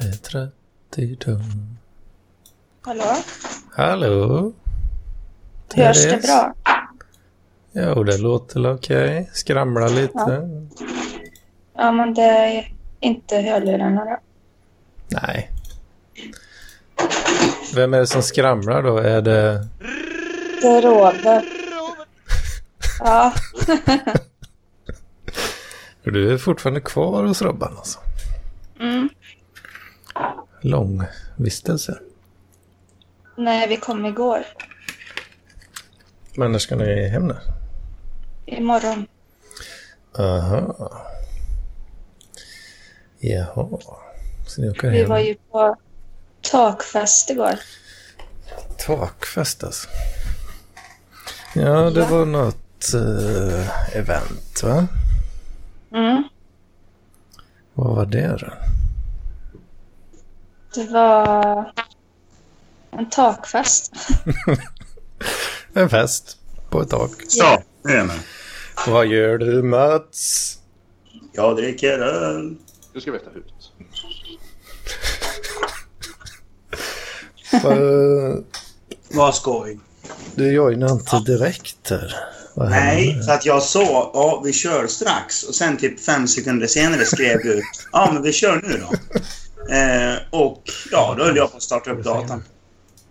Jag är trött idag. Hallå? Hallå? Hörs det Therese? bra? Jo, det låter väl okej. Skramlar lite. Ja, men det är inte hörlurarna då. Nej. Vem är det som skramlar då? Är det... Det är Robert. Ja, Du är fortfarande kvar hos Robban alltså. mm. Lång vistelse. nej vi kom igår. Men när ska ni hem nu? Imorgon. Aha. Jaha. Så ni åker Vi hem? var ju på takfest igår. Takfest alltså. Ja, det var något eh, event va? Mm. Vad var det då? Det var en takfest. En fest på ett tak. Ja, det är med. Vad gör du Mats? Jag dricker öl. Du ska veta ut. Eh, Vad skoj. du joinar inte direkt här. Vad händer? Nej, så att jag sa ja, vi kör strax. Och sen typ fem sekunder senare skrev du ja, men vi kör nu då. Eh, och ja, då höll jag på att starta upp datorn.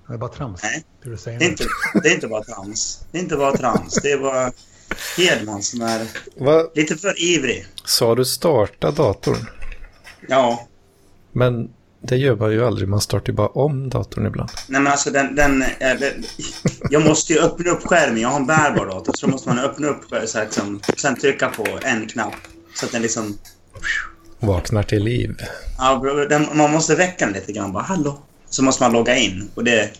Det är bara trams. Nej. Det du säger Det är nu. inte, det är inte bara trams. Det är inte bara trams. Det är bara Hedman som är Va? lite för ivrig. Sa du starta datorn? Ja, Men det gör man ju aldrig. Man startar ju bara om datorn ibland. nej men alltså den... den, eh, den jag måste ju öppna upp skärmen. Jag har en bärbar dator. Så då måste man öppna upp skärmen så här, liksom, sen trycka på en knapp. Så att den liksom... Vaknar till liv. Ja, bro, den, man måste väcka den lite grann. Bara, hallå. Så måste man logga in. Och det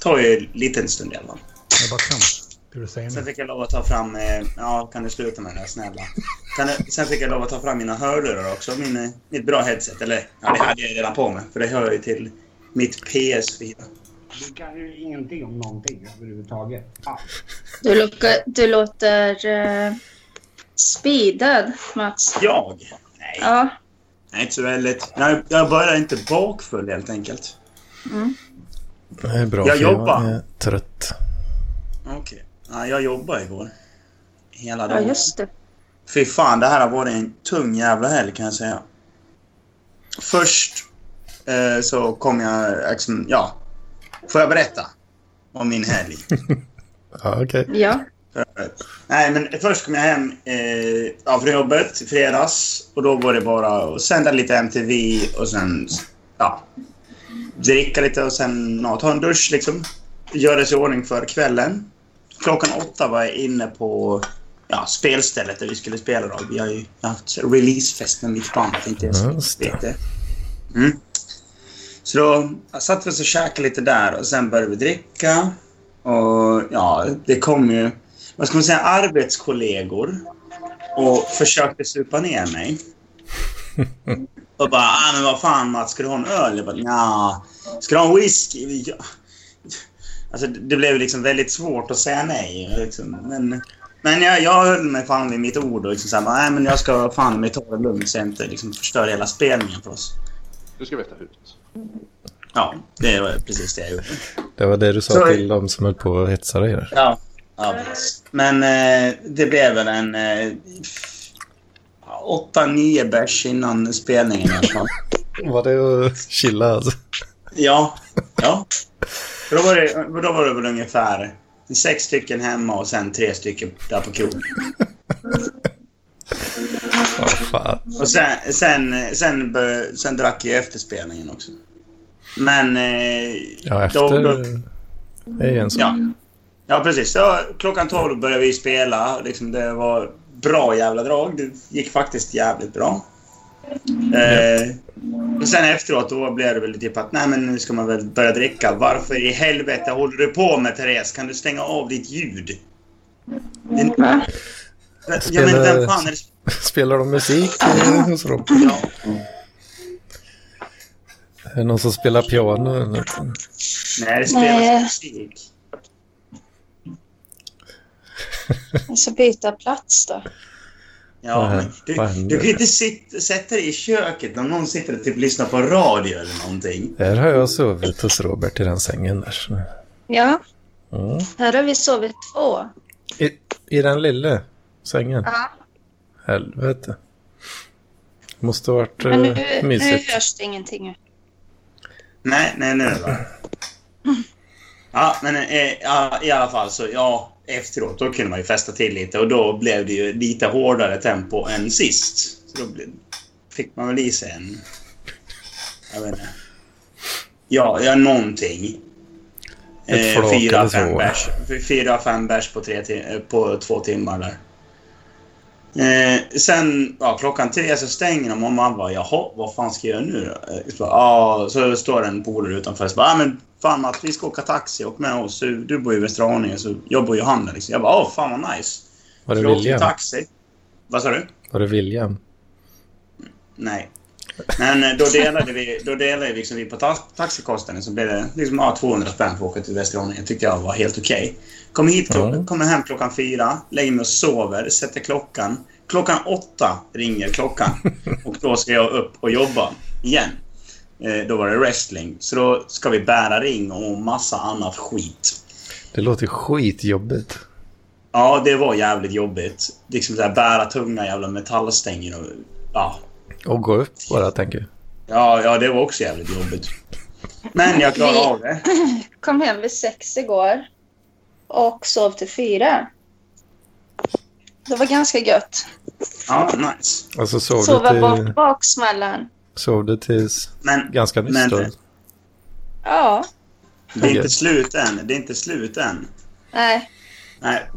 tar ju en liten stund i alla fall. Det är bara trams. Det du säger Sen nu. fick jag lov att ta fram... Eh, ja, kan du sluta med det där, snälla? Kan du, sen fick jag lov att ta fram mina hörlurar också. Min, eh, mitt bra headset. Eller, ja, det hade jag ju redan på mig. För det hör ju till mitt PS4. Du kan ju ingenting om någonting överhuvudtaget. Ah, Du, låter- du låter uh, speedad, Mats. Jag? Nej, Ja, nej inte så väldigt. Jag, jag börjar inte bakfull helt enkelt. Det är bra Jag för jag jobbar. är trött. Okej. Ja, jag jobbade igår. Hela ja dagen. just det. Fy fan, det här har varit en tung jävla helg kan jag säga. Först eh, så kom jag... Liksom, ja. Får jag berätta? Om min helg. Ja, okej. Ja. Nej, men först kom jag hem eh, ja, från jobbet i fredags. Och då var det bara att sända lite MTV och sen... Ja. Dricka lite och sen ja, ta en dusch liksom. Göra sig i ordning för kvällen. Klockan åtta var jag inne på ja, spelstället där vi skulle spela. Då. Vi har ju haft releasefest med mitt band. Det är Inte så Just det. vet det. Mm. Så då ja, satt vi oss och käkade lite där och sen började vi dricka. Och ja, det kom ju, vad ska man säga, arbetskollegor och försökte supa ner mig. Och bara, ah, men vad fan Mats, ska du ha en öl? Jag bara, nja. Ska du ha en whisky? Ja. Alltså, det blev liksom väldigt svårt att säga nej. Liksom. Men, men jag, jag höll mig fan vid mitt ord och liksom så här, bara, nej men jag ska fan mig ta det lugnt så jag inte liksom förstör hela spelningen för oss. Du ska veta ut. Ja, det var precis det jag gjorde. Det var det du sa Sorry. till dem som höll på och hetsade dig där. Ja. ja precis. Men eh, det blev väl en... Eh, åtta, nio bärs innan spelningen i alla fall. Var det att chilla alltså? Ja. ja. För Då var, det, då var det väl ungefär sex stycken hemma och sen tre stycken där på krogen. Ja, fan. Och sen, sen, sen, bör, sen drack jag efter spelningen också. Men... Eh, Ja, då- efter... då- Det är ju en sak. Ja. Ja, precis. Så, klockan 12 började vi spela. Liksom, det var bra jävla drag. Det gick faktiskt jävligt bra. Eh, och sen efteråt då blev det väl typ att nej men nu ska man väl börja dricka. Varför i helvete håller du på med Therese? Kan du stänga av ditt ljud? Det- Va? Ja men vem fan är det? Spelar de musik eh, hos Rob? Ja. Är det någon som spelar piano? eller? Nej, det spelas Nej. musik. Jag ska byta plats då. Ja, Vad men händer? du, Vad händer? du kan ju inte sitt, sätta dig i köket när någon sitter och typ lyssnar på radio eller någonting. Här har jag sovit hos Robert i den sängen där. så- Ja, Mm. här har vi sovit två. I, I den lilla sängen? Ja. Helvete. Måste ha varit Men nu, eh, nu mysigt. hörs det ingenting. Nej, nej, nu är det bra. Ja, men eh, ja, i alla fall så ja, efteråt då kunde man ju festa till lite och då blev det ju lite hårdare tempo än sist. Så då blev, fick man väl i sig en... Jag vet inte. Ja, ja någonting. Eh, Ett flak eller fyra, så. fem bärs. Fyra, fem bärs på, tre tim- eh, på två timmar där. Eh, sen ja, klockan tre så stänger de och man bara jaha, vad fan ska jag göra nu då? Eh, Så, bara, "Ja", så står en polare utanför och så bara, "Ah, men fan att vi ska åka taxi, åk med oss. Du, du bor ju i Västra Haninge, så jag bor ju i Handen. Liksom. Jag bara, åh fan vad nice. Var det Så jag åkte William? taxi. Vad sa du? Var det William? Nej. Men eh, då delade vi, då delade liksom vi på ta taxikostnaden så blev det liksom, ja, 200 spänn för att åka till Västerås. Det tyckte jag var helt okej. Kommer hit, klock- Ja. kommer hem klockan fyra, lägger mig och sover, sätter klockan. Klockan åtta ringer klockan och då ska jag upp och jobba igen. Eh, då var det wrestling. Så då ska vi bära ring och massa annat skit. Det låter skitjobbigt. Ja, det var jävligt jobbigt. Liksom så här, bära tunga jävla metallstänger och... Ja, Och gå upp bara, tänker jag. Ja, ja, det var också jävligt jobbigt. Men jag klarade av det. Kom hem vid sex igår och sov till fyra. Det var ganska gött. Ja, nice. Alltså sov du, Sova till, bort baksmällan. sov du tills Men ganska nyss Men- då? Ja, det är inte slut än. Det är inte slut än. nej. Nej.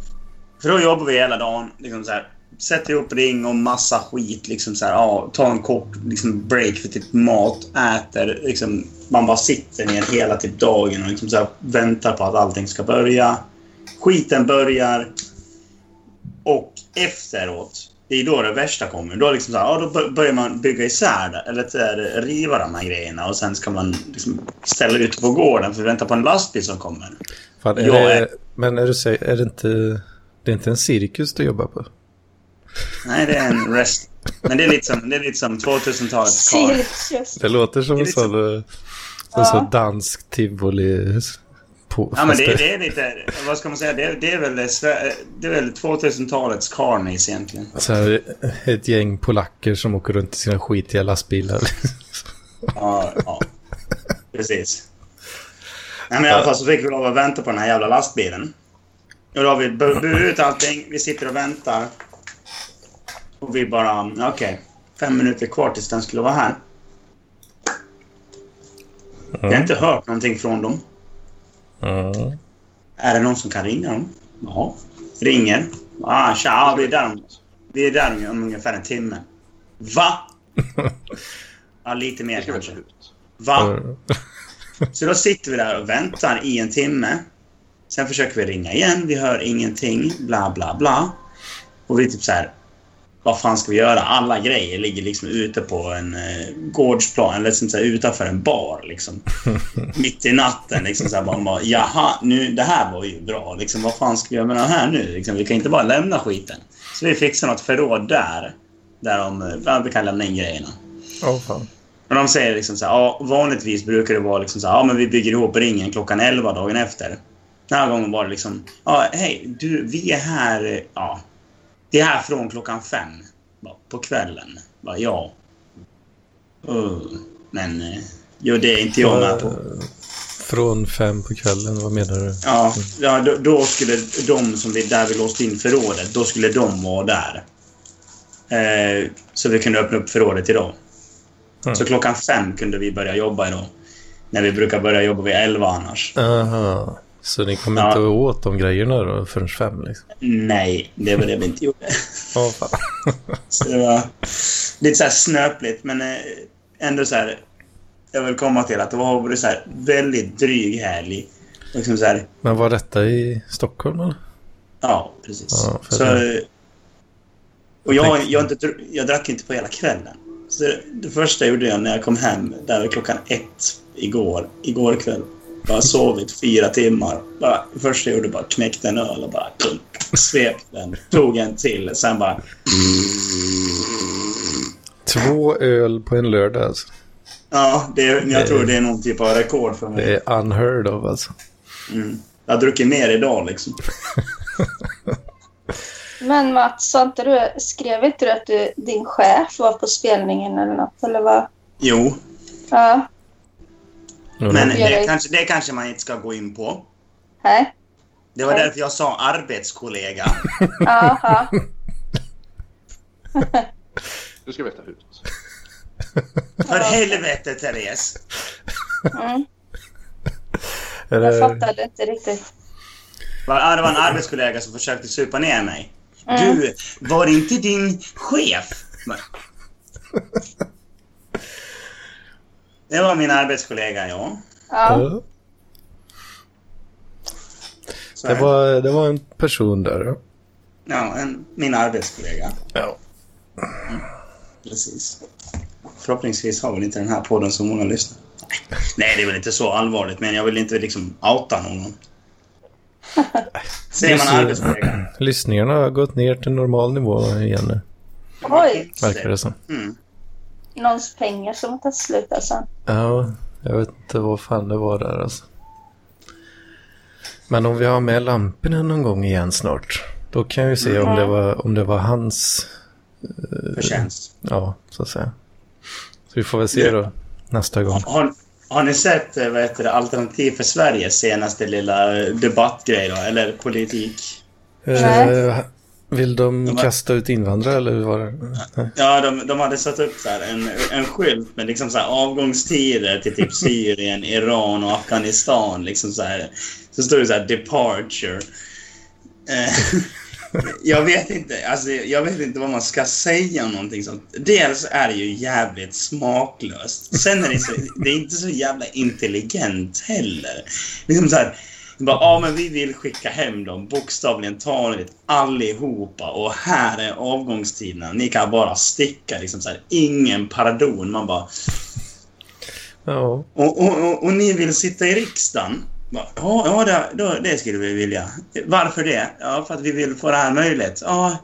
För då jobbar vi hela dagen. Liksom så här, sätter ihop ring och massa skit. Liksom så här, ja, tar en kort liksom, break för typ mat, äter. Liksom, man bara sitter ner hela typ dagen och liksom så här, väntar på att allting ska börja. Skiten börjar. Och efteråt, det är då det värsta kommer. Då, liksom så här, ja, då bör- börjar man bygga isär det, eller så här, riva de här grejerna och sen ska man liksom ställa ut på gården för att vänta på en lastbil som kommer. Fan, är Jag det, är- men är, du, säg- är det inte... Det är inte en cirkus du jobbar på? Nej, det är en rest. Men det är lite som, det är lite som 2000-talets kar. Cirkus. Det låter som Det är en lite sån, eh, Ja. en sån dansk tivoli... På, Ja, men fast det, det är lite... Vad ska man säga? Det, det är väl, Sve- det är väl 2000-talets carnies egentligen. Så här, ett gäng polacker som åker runt i sina skitiga lastbilar. Ja, ja. Precis. Nej, men i alla fall så fick vi lov att vänta på den här jävla lastbilen. Och då har vi bu- burit ut allting. Vi sitter och väntar. Och vi bara... Okej. fem minuter kvar tills den skulle vara här. Jag har inte hört någonting från dem. Mm. Är det någon som kan ringa dem? Ja. Ringer. Ah, tja, ja, vi är där om, vi är där om, om ungefär en timme. Va? Ja, lite mer Det ska vänta kanske. ut. Va? Så då sitter vi där och väntar i en timme. Sen försöker vi ringa igen. Vi hör ingenting. Bla, bla, bla. Och vi typ så här... Vad fan ska vi göra? Alla grejer ligger liksom ute på en eh, gårdsplan, eller liksom så här, utanför en bar. Liksom. Mitt i natten. Liksom, så här, bara, bara, Jaha, nu, det här var ju bra. Liksom, vad fan ska vi göra med den här nu? Liksom, vi kan inte bara lämna skiten. Så vi fixar något förråd där. Där de, eh, ja, vi kan lämna in grejerna. Åh, fan. Men de säger liksom så här, ja, vanligtvis brukar det vara liksom så här, ja men vi bygger ihop ringen klockan 11 dagen efter. Den här gången var det liksom, ja hej, du, vi är här, eh, ja, vi är här från klockan fem bara, på kvällen. Bara, ja. Uh, men, eh, jo det är inte jag med på. Eh, Från fem på kvällen, vad menar du? Ja, ja då, då skulle de som vi, där vi låste in förrådet, då skulle de vara där. Eh, så vi kunde öppna upp förrådet idag. Mm. Så klockan fem kunde vi börja jobba idag. När vi brukar börja jobba vid elva annars. Aha. Så ni kommer Ja. inte åt de grejerna då förrän fem? Liksom. Nej, det var det vi inte gjorde. Åh, fan. Så det var lite så här snöpligt, men eh, ändå så här... Jag vill komma till att det var både så här väldigt dryg helg. och Liksom så här, Men var detta i Stockholm eller? Ja, precis. Ja, för så, det- och jag, tänkte- jag, har inte, dru- jag drack inte på hela kvällen. Så det, det första jag gjorde jag när jag kom hem, där vid klockan ett igår, igår kväll. Bara sovit fyra timmar. Bara, det första jag gjorde bara knäckte en öl och bara... svep den, tog en till, sen bara... Två öl på en lördag alltså. Ja, det, är- jag tror det är någon typ av rekord för mig. Det är unheard of alltså. Mm. Jag har druckit mer idag liksom. Men Mats, sa inte du, skrev inte du att du, din chef var på spelningen eller något? Eller vad? Jo, Ja, men det gör det det. kanske, det kanske man inte ska gå in på. nej. Det var Nej. därför jag sa arbetskollega. Ja, ja. Du ska veta hut. För helvete, Therese! Mm. Är Jag det, fattade inte riktigt. Var- ja, Det var en arbetskollega som försökte supa ner mig. Mm. Du, var det inte din chef? Men- Det var min arbetskollega, ja. Ja. ja, Så det, här. var, det var en person där. ja. ja, en, min arbetskollega. Ja. Precis. Förhoppningsvis har väl inte den här podden så många lyssnare. Nej. Nej, det är väl inte så allvarligt, men jag vill inte liksom outa någon. Säger man Lyssn- arbetskollega? Lyssningarna har gått ner till normal nivå igen nu, Oj, verkar det som. Mm. någons pengar som har tagit slut alltså. Ja, jag vet inte vad fan det var där alltså. Men om vi har med lamporna någon gång igen snart, då kan jag ju se om det var, om det var hans, Förtjänst. ja, så att säga. Så vi får väl se då, nästa gång. Har, har ni sett eh, vad heter det, Alternativ för Sveriges senaste lilla eh, debattgrej då? Eller politik? Nej. Eh, vill de var- kasta ut invandrare eller vad var det? Nej. Ja, de, de hade satt upp så här en, en skylt med liksom så här avgångstider till typ Syrien, Iran och Afghanistan. Liksom så, här. så stod det så här “departure”. Eh, jag, vet inte, alltså, jag vet inte vad man ska säga om någonting sånt. Dels är det ju jävligt smaklöst. Sen är det, så, det är inte så jävla intelligent heller. Liksom så här, bara, ja men vi vill skicka hem dem bokstavligen talat allihopa och här är avgångstiderna. Ni kan bara sticka liksom så här. Ingen pardon. Man bara, Ja, och, och, och, och ni vill sitta i riksdagen? Bara, Ja, ja det, då, det skulle vi vilja. Varför det? Ja, för att vi vill få det här möjligt. Ja,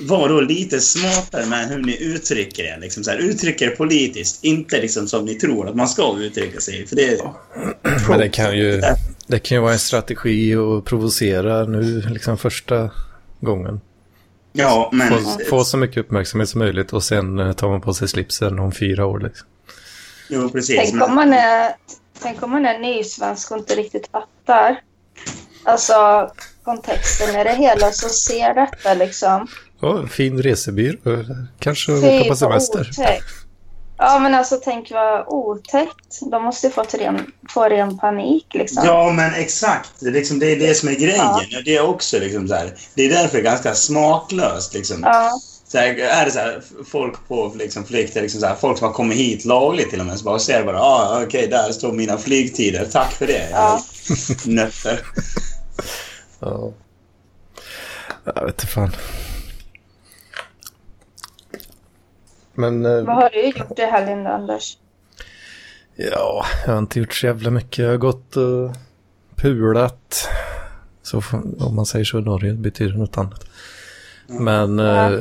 var då lite smartare med hur ni uttrycker er. Liksom så här, uttryck er politiskt, inte liksom som ni tror att man ska uttrycka sig. För det, men det kan ju, det kan ju vara en strategi att provocera nu, liksom första gången. ja, men... Få, få så mycket uppmärksamhet som möjligt och sen eh, tar man på sig slipsen om fyra år liksom. Jo, precis. Tänk om man är, tänk om man är nysvensk och inte riktigt fattar. Alltså kontexten i det hela så ser detta liksom. Ja, fin resebyrå. eh, Kanske Fy, åka på vad semester. otäckt. Ja men alltså tänk vad otäckt. De måste ju fått ren, få ren panik liksom. Ja, men exakt. Det är Liksom, det är det som är grejen. Ja. Ja. Det är också liksom så här, Det är därför det är ganska smaklöst. Liksom. Ja, Så här, är det så här, folk på liksom, flykt, är liksom så här, folk som har kommit hit lagligt till och med, så bara ser bara ah, okej, där står mina flygtider. Tack för det. Ja. Nötter. Ja. Jag vet inte fan. Men eh, vad har du gjort i helgen då Anders? ja, jag har inte gjort så jävla mycket. Jag har gått och pulat. Så, får- om man säger så i Norge det betyder det något annat. Men Mm. Ja. eh,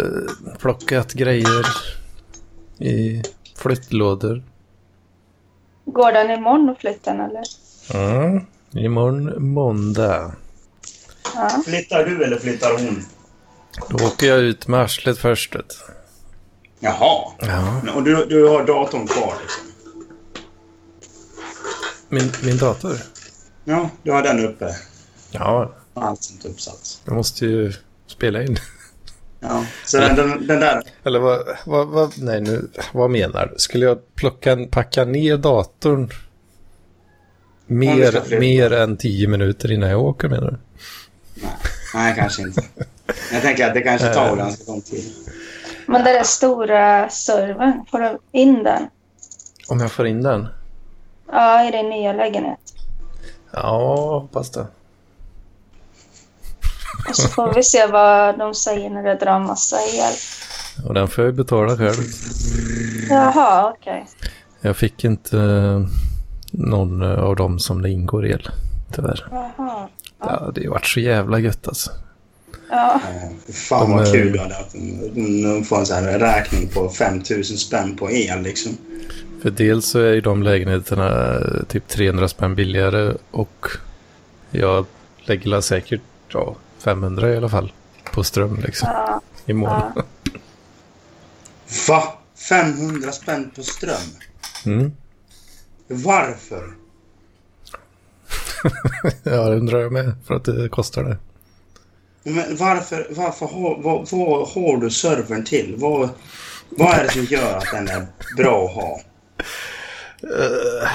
plockat grejer i flyttlådor. Går den imorgon och flytten eller? Mm. Imorgon måndag. Ja. Flyttar du eller flyttar hon? Då åker jag ut med arslet först. vet du. Jaha. Ja. Och du, du har datorn kvar? Liksom. Min, min dator? Ja, du har den uppe. Ja, Allt sånt uppsatt. jag måste ju spela in. Ja. Så den, den, den där... Eller vad, vad, vad, nej nu, vad menar du? Skulle jag plocka, packa ner datorn du ska mer, flytta. mer än tio minuter innan jag åker menar du? Nej, kanske inte. Jag tänker att det kanske tar ganska lång tid. Men den där stora servern, får du in den? Om jag får in den? Ja, i din nya lägenhet. Ja, hoppas det. Och så får vi se vad de säger när det drar massa el. Och den får jag ju betala själv. Jaha, okej. Jag fick inte eh, någon eh, av dem som det ingår el, tyvärr. Jaha. Ja, det har varit så jävla gött alltså. Ja. Fy Fan De, vad eh, kul det hade varit. De får en sån här räkning på 5000 spänn på el liksom. För dels så är ju de lägenheterna eh, typ 300 spänn billigare och jag lägger la säkert ja, 500 i alla fall på ström liksom ja. i månaden. Va? 500 spänn på ström? Mm. Varför? Ja, det undrar jag med för att det kostar det. Men varför, varför har, vad, vad har du servern till? Vad, vad är det som gör att den är bra att ha?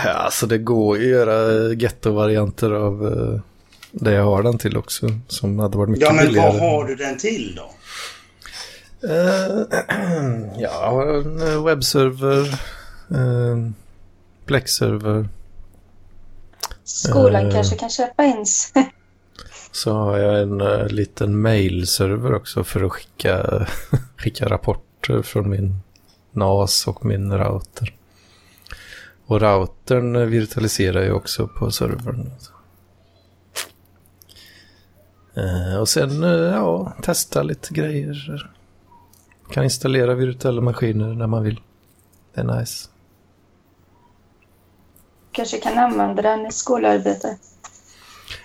Eh, Alltså det går ju att göra eh, gettovarianter av eh, det jag har den till också. Som hade varit mycket Ja, men billigare. vad har du den till då? Eh, ja, jag har en eh, webbserver, uh, Plex-server. Skolan Eh. kanske kan köpa in sig. Så har jag en eh, liten mail-server också för att skicka, skicka rapporter från min NAS och min router. Och routern eh, virtualiserar jag också på servern. Eh, Och sen, eh, ja, testa lite grejer. Kan installera virtuella maskiner när man vill. Det är nice. Kanske kan använda den i skolarbete.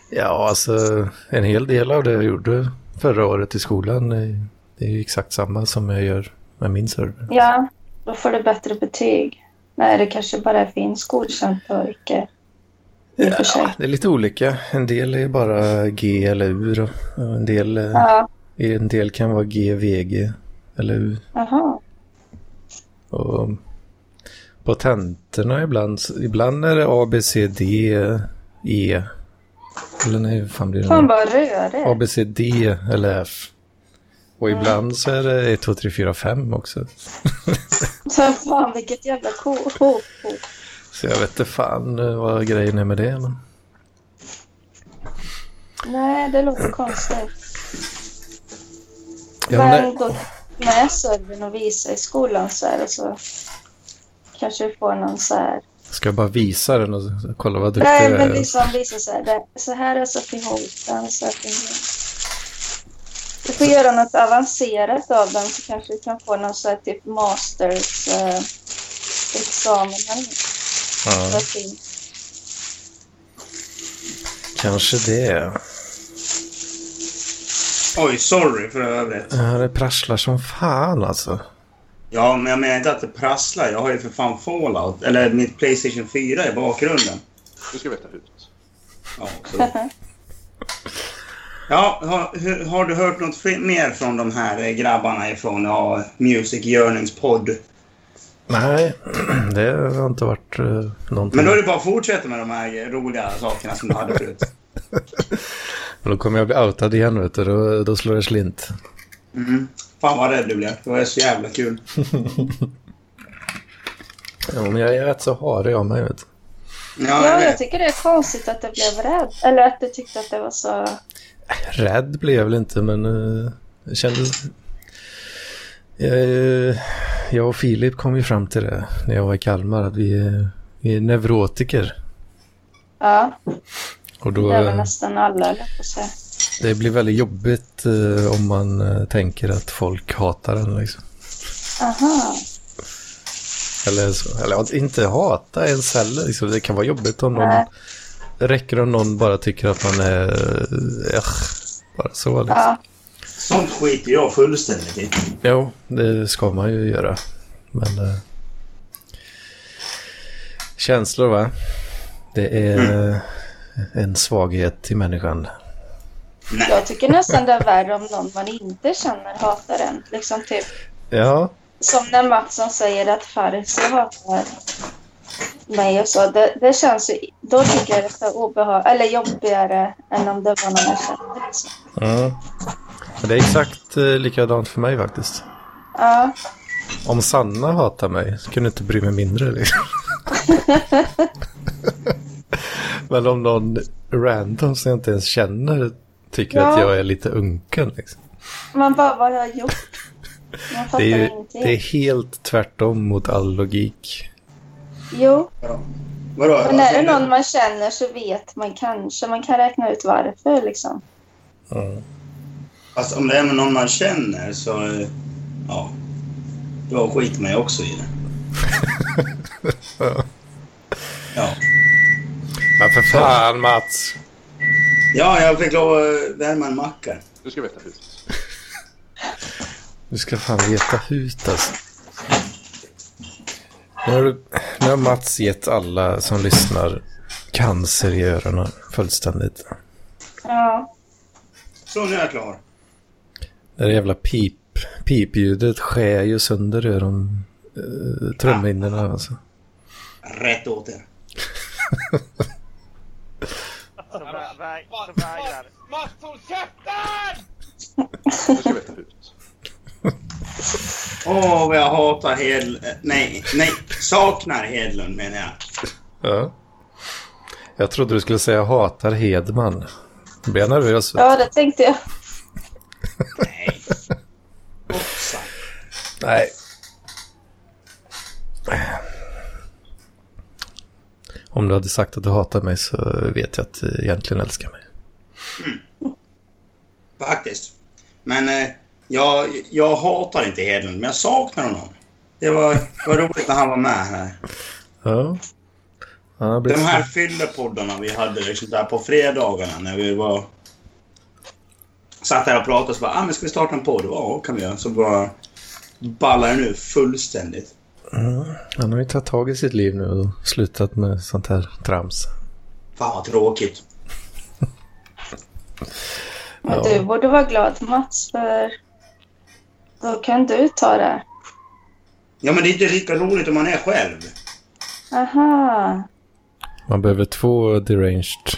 Ja, alltså en hel del av det jag gjorde förra året i skolan eh, det är ju exakt samma som jag gör med min server. Ja, då får du bättre betyg. Nej, det kanske bara finns godkänt pojke. I och för sig. Det är lite olika. En del är bara G eller U då. Och En del, eh, Ja, en del kan vara G, VG eller U. jaha. Och på tentorna ibland, så- ibland är det A, B, C, D, E. Eller nej, hur fan blir det? Fan nu? vad rörig. A, B, C, D eller F. Och ibland så är det 1, 2, 3, 4, 5 också. Så fan vilket jävla ko. ko, ko. Så jag vet inte fan eh, vad grejen är med det. Men... Nej, det låter konstigt. Ja, men Men gå med servern och visa i skolan så här och så kanske vi får någon så här. Ska jag bara visa den och så- kolla vad duktig Nej, jag är? men liksom visa så här. Det, så här är satt ihop den. Så att den du får göra något avancerat av den så kanske du kan få någon så här typ masters eh, examen eller något. Ja, Vad fint. kanske det. Oj, sorry för övrigt. Ja, det prasslar som fan alltså. Ja, men jag menar inte att det prasslar. Jag har ju för fan Fallout, eller mitt Playstation 4 i bakgrunden. Du ska veta hut. Ja, så. ja har, hur- har du hört något fler- mer från de här eh, grabbarna ifrån ja, Music Yearnings podd? Nej, det har inte varit uh, någonting. Men då är det bara att fortsätta med de här eh, roliga sakerna som du hade förut. Men då kommer jag bli outad igen vet du. Då, då slår jag slint. Mm. Fan vad rädd du blev. Det var så jävla kul. Ja, men jag är rätt så harig av mig vet du. Ja, jag Ja, jag vet. tycker det är konstigt att jag blev rädd. Eller att du tyckte att det var så... Rädd blev jag väl inte men eh, jag kändes... Jag, eh, jag och Filip kom ju fram till det när jag var i Kalmar att vi, är- vi är neurotiker. Ja, Och det då, är väl nästan alla, höll jag på att säga. det blir väldigt jobbigt eh, om man eh, tänker att folk hatar en. Liksom. Aha. Eller, så, eller att inte hata ens heller. Liksom. Det kan vara jobbigt om någon... Nej. räcker om någon bara tycker att man är... Eh, bara så. Liksom. Ja, Sånt skiter jag fullständigt i. Jo, det ska man ju göra. Men... Eh, känslor, va? Det är Mm. eh, en svaghet i människan. jag tycker nästan det är värre om någon man inte känner hatar en. Liksom typ Ja, som när Mattsson säger att Farsi hatar mig och så. Det, det känns ju, då tycker jag det är obehag, eller jobbigare än om det var någon jag kände. Liksom. Mm. Det är exakt eh, likadant för mig faktiskt. Ja, Om Sanna hatar mig så kunde jag inte bry mig mindre. Liksom. Men om någon random som jag inte ens känner tycker Ja. att jag är lite unken. Liksom. man bara, vad har jag gjort? Man fattar Det, är ju, ingenting. det är helt tvärtom mot all logik. Jo, Vadå? Vadå? men är det Alltså, någon man känner så vet man kanske, man kan räkna ut varför liksom. Fast om det är med någon man känner så... eh, Ja. Då skiter man ju också i det. Ja. Men för fan Mats! Ja, jag fick lov att eh, värma en macka. Du ska veta hut. Du ska fan veta hut alltså. Nu har, du, nu har Mats gett alla som lyssnar cancer i öronen fullständigt. Ja. Så, nu är jag klar. Det där jävla pip, pipljudet skär ju sönder öron, uh, trumhinnorna alltså. Rätt åt er. Som vä- vä- som vägrar. Du ska veta hut. Åh, vad jag hatar Hedlund. Nej, nej. Saknar Hedlund menar jag. Ja. Jag trodde du skulle säga hatar Hedman. Nu blir jag nervös. vet du. ja, det tänkte jag. Nej. Hoppsan. Nej. Om du hade sagt att du hatar mig så vet jag att du egentligen älskar mig. Faktiskt. Men eh, jag, jag hatar inte Hedlund, men jag saknar honom. Det var, det var roligt när han var med här. Ja. Han har De blivit här fyllepoddarna vi hade liksom där på fredagarna när vi var... Satt här och pratade så bara, ah, men ska vi starta en podd? Ja, kan vi göra. Så bara ballar den ur fullständigt. Han har ju tagit tag i sitt liv nu och slutat med sånt här trams. Fan vad tråkigt. Men Ja. du borde vara glad Mats, för då kan du ta det. Ja, men det är inte lika roligt om man är själv. Aha. Man behöver två deranged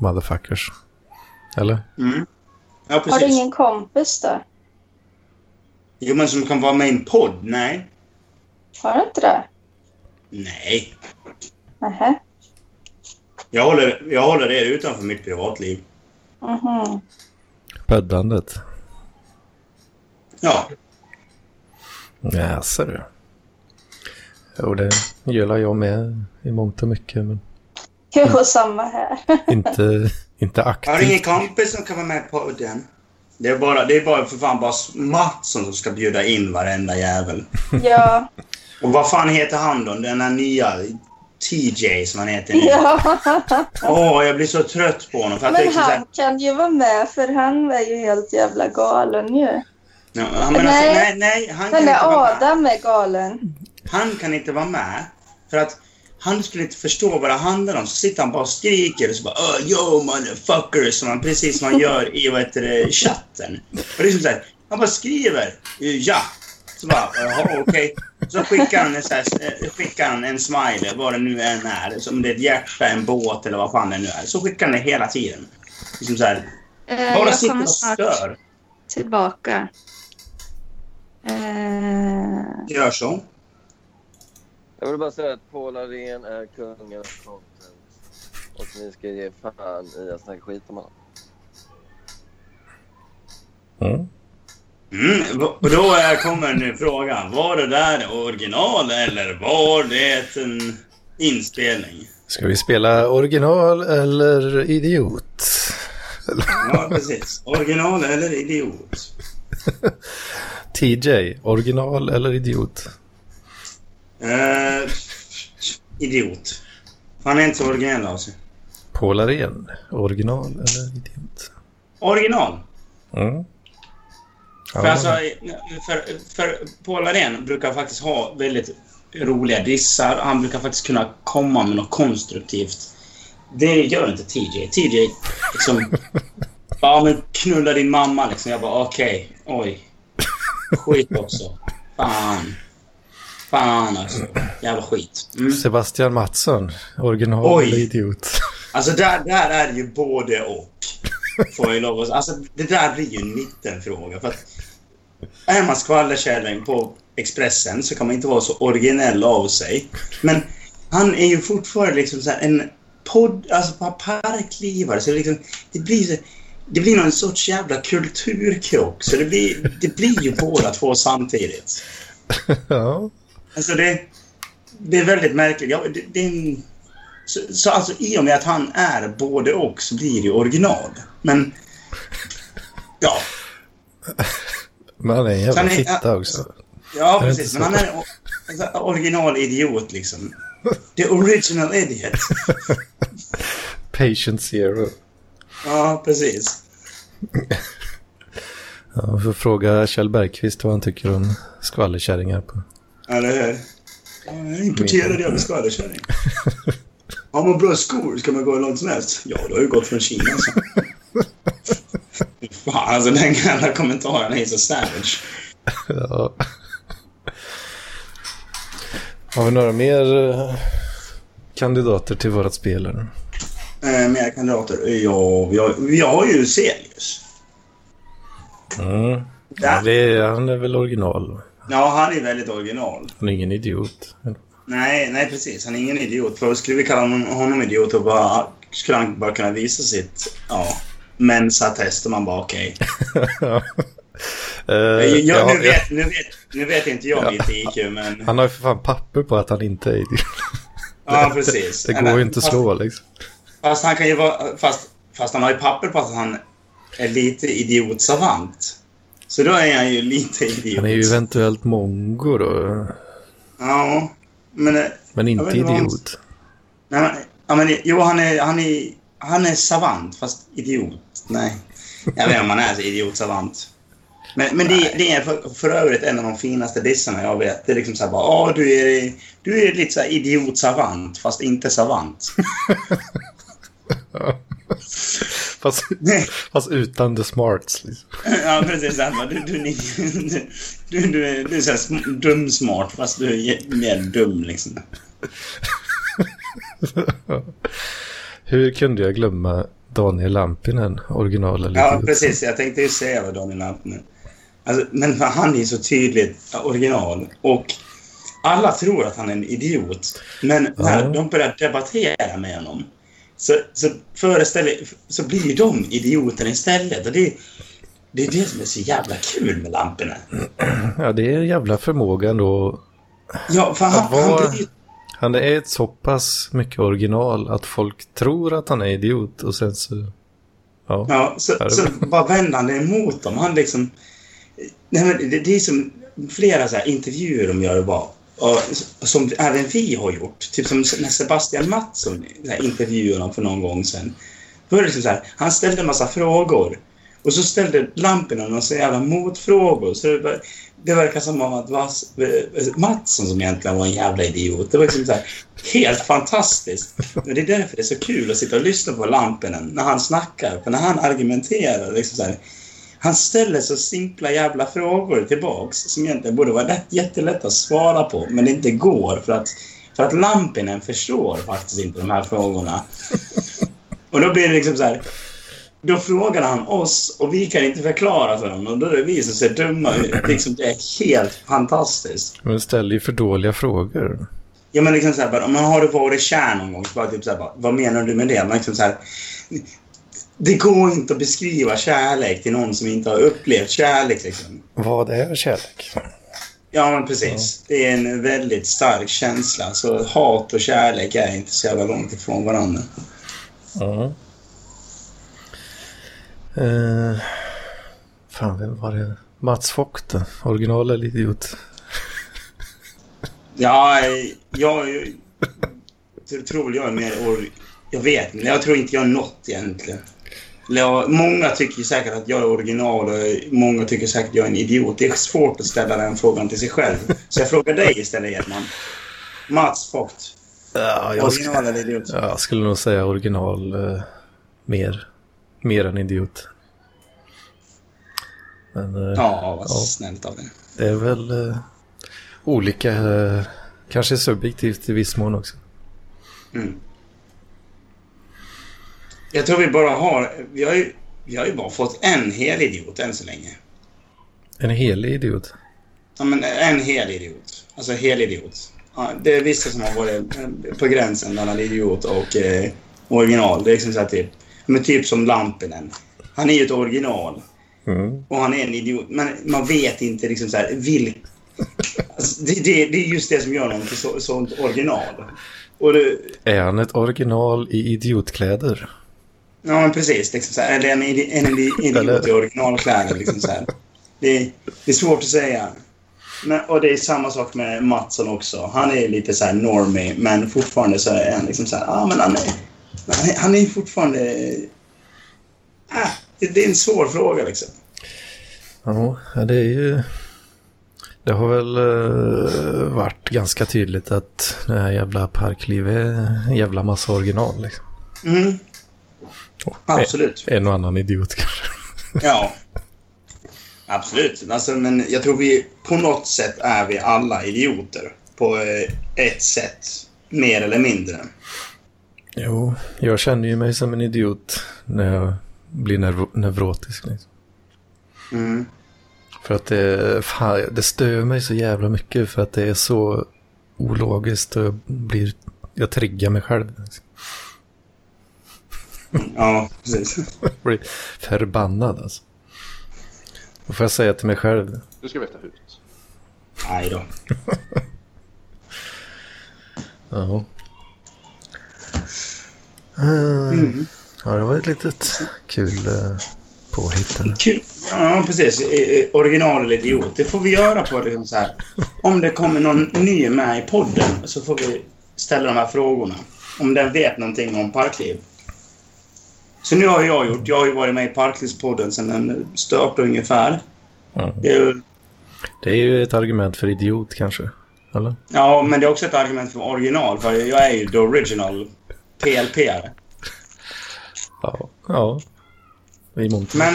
motherfuckers. Eller? Ja, Har du precis. ingen kompis då? Jo, men som kan vara med i en podd? Nej. Har du inte det? Nej. Nähä. Jag håller, jag håller det utanför mitt privatliv. Mhm. Bäddandet. Ja, Ja, ser du. Jo, det gillar jag med i mångt och mycket. Men Mm. Jo, samma här. inte, inte Jag har ingen aktivt. kompis som kan vara med på den. Det är bara, det är bara för fan bara Mattsson som ska bjuda in varenda jävel. Ja. Och vad fan heter han då? Den här nya TJ som han heter nu. ja. Åh, jag blir så trött på honom. För jag Men tänker så här, han kan ju vara med, för han är ju helt jävla galen ju. Ja, han menar Nej. nej. nej, nej, han kan Eller inte vara med. Adam är galen. Han kan inte vara med. För att han skulle inte förstå vad det handlar om. Så sitter han bara och skriker och så bara oh, yo motherfucker som han precis som han gör i vad heter det, chatten. Och det är som så här, han bara skriver eh, ja. Så bara jaha okej. Så skickar han, en, så här, eh, skickar han en smiley, vad det nu än är. Som det är ett hjärta, en båt eller vad fan det nu är. Så skickar han det hela tiden. Liksom så här, Eh, bara jag sitter kommer och snart stör. tillbaka. Eh, Gör så. Jag vill bara säga att Paul Arén är kungen av content. Och ni ska ge fan i att snacka skit om honom. Mm. Mm, och då är- kommer nu frågan. Var det där original eller var det en inspelning? Ska vi spela original eller idiot? Ja, precis. Original eller idiot? TJ, original eller idiot? Eh, idiot. Han är inte så originell alltså. av sig. Paul Arén, original eller idiot? Original. Mm. Ja, För, alltså, för, för Paul Arén brukar faktiskt ha väldigt roliga dissar. Han brukar faktiskt kunna komma med något konstruktivt. Det gör inte TJ. TJ liksom... ja, men knulla din mamma liksom. Jag bara okej. oj. Skit också. Fan. Fan alltså. Jävla skit. Mm. Sebastian Mattsson, original Oj. eller idiot? Alltså där, där är det ju både och. Får jag lov att, alltså det där blir ju en mittenfråga. För att är man skvallerkärring på Expressen så kan man inte vara så originell av sig. Men han är ju fortfarande liksom så här en podd, alltså bara parklivare. Så det, liksom, det blir så, det blir någon sorts jävla kulturkrock. Så det blir, det blir ju båda två samtidigt. ja. Alltså det, det är väldigt märkligt. Ja, det, det är en, så, så alltså i och med att han är både och så blir det ju original. Men ja, Men han är en jävla Sen är- fitta också. Ja, Det är precis. inte Men han är o- alltså, originalidiot liksom. The original idiot. Patient zero. Ja, precis. Ja, vi får fråga Kjell Bergqvist vad han tycker om skvallerkärringar. På. Eller hur? Ja, Importerad jävla skvallerkärring. Har man bra skor ska man gå hur långt som helst. Ja, du har ju gått från Kina så. Fy Fan, alltså den gamla kommentaren är så savage. Ja. Har vi några mer eh, kandidater till vårat spel? eller? Eh, mer kandidater? Ja, vi har, vi har ju Celius. Mm. Ja, Ja. det är, han är väl original. Ja, han är väldigt original. Han är ingen idiot. Nej, nej precis. Han är ingen idiot. För skulle vi kalla honom, honom idiot och bara, skulle han bara kunna visa sitt ja, mensattest och man bara okej. Eh, Jag- jag- ja, nu, vet, nu, vet, nu vet inte jag mitt IQ men... Han har ju för fan papper på att han inte är idiot. Ja, precis. Det går Men- ju inte att fast- slå liksom. Fast han kan ju vara... Fast, fast han har ju papper på att han är lite idiot-savant. Så då är han ju lite idiot. Han är ju eventuellt mongo då. Ja, men... eh, Men Jag inte vet inte vad han- idiot. Nej, men, ja, men, jo, han är, han, är, han är savant, fast idiot. Nej, jag vet inte om han är så idiot-savant. Men, men det, det är för, för övrigt en av de finaste dissarna jag vet. Det är liksom så här bara, "Ah, du är, du är lite så här idiot-savant, fast inte savant. Fast, fast utan the smarts liksom. Ja, precis. Han bara, Du, du, ni- du, du, du, är- du är så här sm- dum-smart, fast du är jä- mer dum liksom. Hur kunde jag glömma Daniel Lampinen, original eller Ja, idiot? precis. Jag tänkte ju säga vad Daniel Lamp nu. Alltså, men för han är ju så tydligt original och alla tror att han är en idiot. Men när Ja. de börjar debattera med honom så, så, föreställer, så blir ju de idioterna istället. Och det, det är det som är så jävla kul med lamporna. Ja, det är en jävla förmåga ändå. Ja, för Att han, vara- han blir ju Han är ett så pass mycket original att folk tror att han är idiot och sen så... Ja. Ja, så, Ja, det- så bara vänder han det emot dem. Han liksom... Nej, men det, det är som flera så här intervjuer de gör bara. Och, som även vi har gjort. Typ som när Sebastian Mattsson så här, intervjuade honom för någon gång sedan. Då är det liksom så här, han ställde en massa frågor. Och så ställde lamporna någon så jävla motfrågor. Så det, ver- det verkar som om att Vas, eh, Mattsson som egentligen var en jävla idiot. Det var liksom så här, helt fantastiskt. Men det är därför det är så kul att sitta och lyssna på lamporna när han snackar. För när han argumenterar liksom så här, han ställer så simpla jävla frågor tillbaks som egentligen borde vara lätt, jättelätt att svara på, men det inte går för att, för att Lampinen förstår faktiskt inte de här frågorna. Och då blir det liksom så här... Då frågar han oss och vi kan inte förklara för honom och då är det vi som ser dumma ut. Liksom, det är helt fantastiskt. Men ställer ju för dåliga frågor. Ja men liksom såhär bara, men har du varit kär någon gång? Så bara typ såhär bara, vad menar du med det? Men liksom såhär, det går inte att beskriva kärlek till någon som inte har upplevt kärlek liksom. Vad är kärlek? Ja men precis. Det är en väldigt stark känsla. Så hat och kärlek är inte så jävla långt ifrån varandra. Ja. Eh, fan, vem var det? Mats Vogt, original eller idiot? Ja, eh, jag, jag tror jag är mer or... Jag vet inte. Jag tror inte jag är något egentligen. Eller Jag, många tycker ju säkert att jag är original och många tycker säkert att jag är en idiot. Det är svårt att ställa den frågan till sig själv. Så jag frågar dig istället, Edman. Mats Vogt. Ja, jag, sk- Original eller idiot? ja, jag skulle nog säga original eh, mer. Mer än idiot. Men eh, Ja, vad Ja. snällt av dig. det är väl eh, olika. Eh, kanske subjektivt i viss mån också. Mm. Jag tror vi bara har... Vi har ju, vi har ju bara fått en hel idiot än så länge. En helig idiot. Ja, men en hel idiot. Alltså hel idiot. Ja, det är vissa som har varit eh, på gränsen mellan idiot och eh, original. Det är liksom så här typ, men typ som Lampinen. Han är ju ett original Mm. och han är en idiot. Men man vet inte liksom så här vilk... Alltså, det, det, det är just det som gör honom till så, sånt original. Och det, Är han ett original i idiotkläder? ja, men precis. Liksom så här, eller en, idi- en idi- idiot i originalkläder. Liksom så här. Det är, det är svårt att säga. Men, och det är samma sak med Mattsson också. Han är lite så här normie, men fortfarande så är han liksom så här, ah, men han är, han är, han är fortfarande... Ah, det, det är en svår fråga liksom. Ja, det är ju... Det har väl eh, varit ganska tydligt att det här jävla parklivet är en jävla massa original. Liksom. Mm, absolut. En och annan idiot kanske. Ja. Absolut. Alltså, men jag tror vi på något sätt är vi alla idioter. På eh, ett sätt. Mer eller mindre. Jo, jag känner ju mig som en idiot när jag blir nerv- neurotisk. Liksom. Mm. För att det, fan, det stör mig så jävla mycket för att det är så ologiskt och jag, blir, jag triggar mig själv. Liksom. Ja, precis. Jag blir förbannad alltså. Då får jag säga till mig själv. Du ska veta hut. Nej då. Ja. Eh, Ja, det var ett litet kul eh, påhitt. eller? Kul. Ja, precis. Eh, eh, Original eller idiot. Det får vi göra på det. Liksom så här. Om det kommer någon ny med i podden så får vi ställa de här frågorna. Om den vet någonting om parkliv. Så nu har jag gjort. Jag har ju varit med i Parklivspodden sedan den startade ungefär. Ja. Det är ju Det är ju ett argument för idiot kanske. Eller? Ja, men det är också ett argument för original, för jag är ju the original plp -are. Ja. Ja. I monter. Men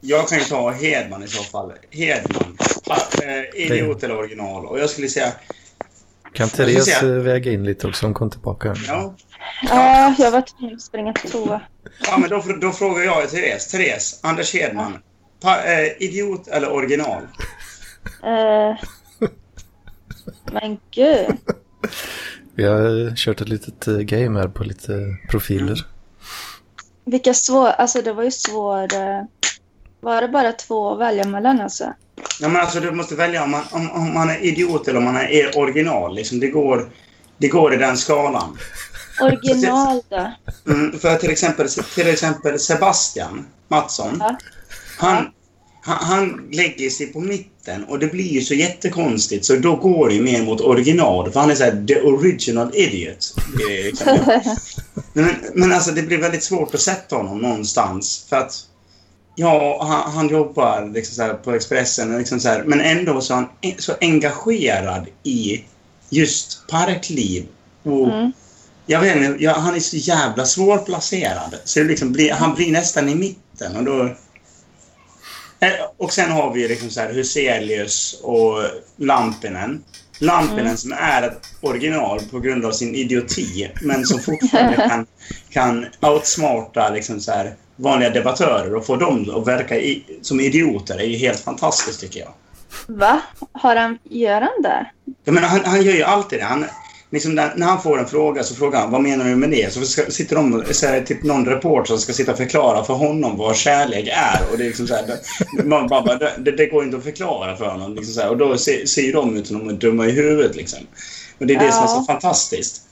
jag kan ju ta Hedman i så fall. Hedman. Pa- eh, Idiot eller original. Och jag skulle säga... Kan Jag Therese ska se. eh, väga in lite också? Hon kom tillbaka. här. Ja, Ja, jag var tvungen att springa till toa. ja men då, då frågar jag Therese. Therese, Anders Hedman. Pa, eh, idiot eller original? Eh, men gud. Vi har eh, kört ett litet eh, game här på lite eh, profiler. Vilka svår... Alltså det var ju svår... eh, Var det bara två att välja mellan alltså? Ja, men alltså, du måste välja om man, om, om man är idiot eller om man är er original. Liksom, det, går, det går i den skalan. Original då? Mm, för till exempel, till exempel Sebastian Mattsson. Ja. Han, han, han lägger sig på mitten och det blir ju så jättekonstigt så då går det ju mer mot original. För han är såhär the original idiot. Det är liksom- men, men alltså det blir väldigt svårt att sätta honom någonstans. För att ja, han, han jobbar liksom så här på Expressen och liksom så här, men ändå så är han en- så engagerad i just parkliv. Och Mm. jag vet inte, jag, han är så jävla svårplacerad. Så det liksom blir, han blir nästan i mitten och då... Eh, Och sen har vi liksom så här Huselius och Lampinen. Lampinen som är ett original på grund av sin idioti, men som fortfarande kan, kan outsmarta liksom så här vanliga debattörer och få dem att verka i, som idioter är ju helt fantastiskt tycker jag. Va? Har han... Gör han det? Jag menar, han, han gör ju alltid det. Han, liksom när, när han får en fråga så frågar han vad menar du med det? Så ska, sitter de, så är det typ någon reporter som ska sitta och förklara för honom vad kärlek är. Och det, är liksom så här, det- man bara, bara, det, det går inte att förklara för honom. Liksom så här, och då ser, ser ju de ut som de är dumma i huvudet. Liksom. Och det är det som är så Ja. fantastiskt.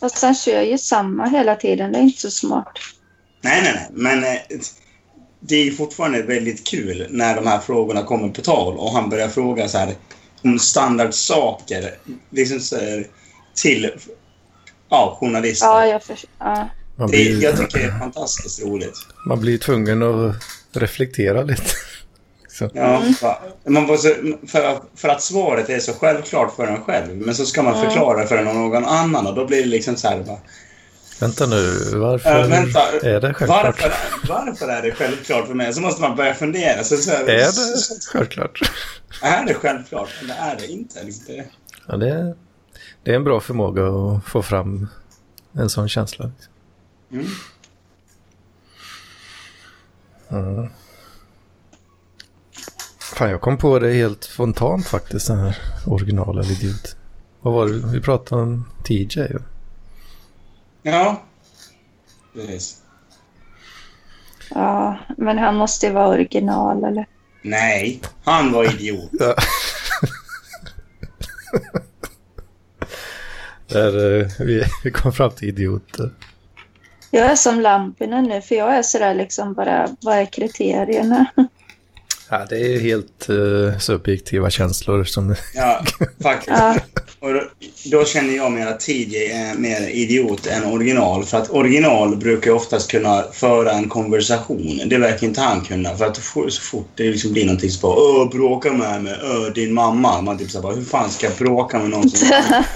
Fast han kör ju samma hela tiden. Det är inte så smart. Nej, nej, nej. Men eh, det är ju fortfarande väldigt kul när de här frågorna kommer på tal och han börjar fråga så här om standardsaker liksom så här, till ja, journalister. Ja, jag förstår. Ja. Man det, blir, jag tycker det är fantastiskt roligt. man blir tvungen att reflektera lite. Så. Ja, va. man får så, för, för att svaret är så självklart för en själv, men så ska man förklara det för någon annan och då blir det liksom så här... Va, Vänta nu, varför äh, vänta, är det självklart? varför, varför är det självklart för mig? Så måste man börja fundera. Så, så, här- Är det självklart? Är det självklart eller är det inte? Liksom det- Ja, det, är, det är en bra förmåga att få fram en sån känsla. liksom. Mm. Mm. Fan, jag kom på det helt spontant faktiskt, den här original eller idiot. Vad var det? Vi pratade om TJ. va? Ja. Precis. ja, men han måste ju vara original eller? Nej, han var idiot. Ja. Där eh, vi, vi kom fram till idioter. Jag är som Lampinen nu, för jag är sådär liksom bara, vad är kriterierna? Ja, det är ju helt eh, subjektiva känslor som... Ja, faktiskt. Ja, Och då, då känner jag mig att TJ är mer idiot än original. För att original brukar ju oftast kunna föra en konversation. Det verkar inte han kunna. För att f- så fort det liksom blir någonting så bara Öh, bråka med mig. Öh, din mamma. Man typ så här bara, hur fan ska jag bråka med någon som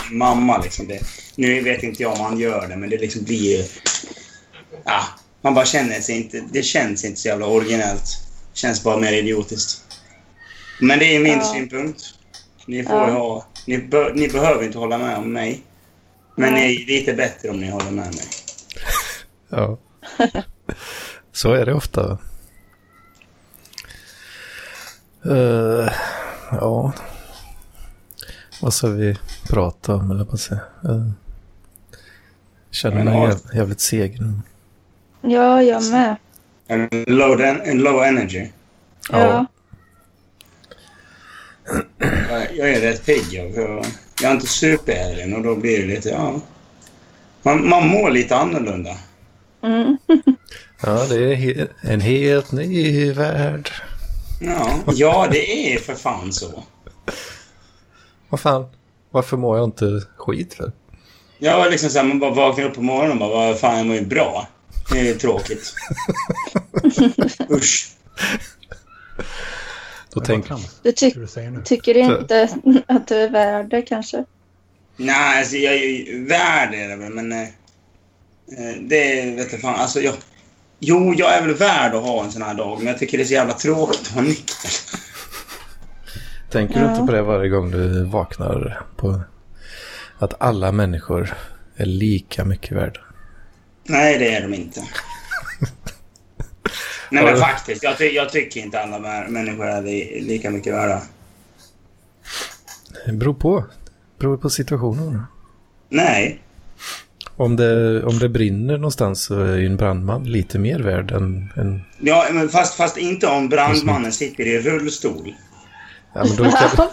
din mamma liksom? Det, nu vet inte jag om han gör det, men det liksom blir ju... Ja, man bara känner sig inte... Det känns inte så jävla originellt. Känns bara mer idiotiskt. Men det är min Ja. synpunkt. Ni får Ja. ha... Ni, bör, ni behöver inte hålla med om mig. Men Nej. ni är lite bättre om ni håller med mig. Ja. Så är det ofta. Eh, ja. Vad ska vi prata om, eller vad säger uh, Känner Men mig har- jäv- jävligt seg nu. ja jag med. En low, den- en low energy. Ja. Jag, jag är rätt pigg. Jag, jag, jag är inte superärlig och då blir det lite... Ja, man, man mår lite annorlunda. Mm. Ja, det är he- en helt ny värld. Ja, ja, det är för fan så. Vad fan, varför mår jag inte skit för? Jag var liksom så här, man bara vaknar upp på morgonen och bara, vad fan, jag mår ju bra. Det är tråkigt. Usch. Då Det är bara tänk, trams, Du det tyck- du säger nu. tycker inte att du är värd det kanske? Nej, alltså jag är ju värd är det väl, men... eh, eh, Det vet jag fan, alltså jag... Jo, jag är väl värd att ha en sån här dag, men jag tycker det är så jävla tråkigt att vara nykter. tänker du inte Ja. på det varje gång du vaknar? På att alla människor är lika mycket värda. Nej, det är de inte. Nej, Har men du- faktiskt. Jag, ty- jag tycker inte alla mär- människor är li- lika mycket värda. Det beror på. Det beror på situationen. Nej. Om det, om det brinner någonstans så är ju en brandman lite mer värd än... än Ja, men fast, fast inte om brandmannen sitter i rullstol. ja, men då kan,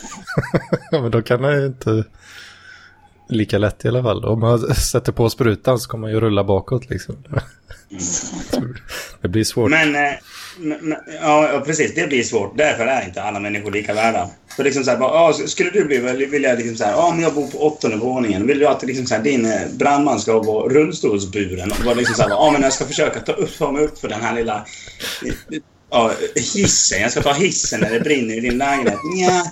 ja, men då kan han ju inte... Lika lätt i alla fall. Om man sätter på sprutan så kommer man ju rulla bakåt liksom. Det blir svårt. Men, eh, men, men ja, ja, precis. Det blir svårt. Därför är inte alla människor lika värda. För liksom så här, bara, ja, skulle du bli väl- vill jag liksom så här, ja, men jag bor på åttonde våningen. Vill du att liksom så här, din eh, brandman ska vara rullstolsburen? Och bara liksom så här, bara, ja, men jag ska försöka ta upp, ta mig upp för den här lilla ja, hissen. Jag ska ta hissen när det brinner i din lägenhet. Nja.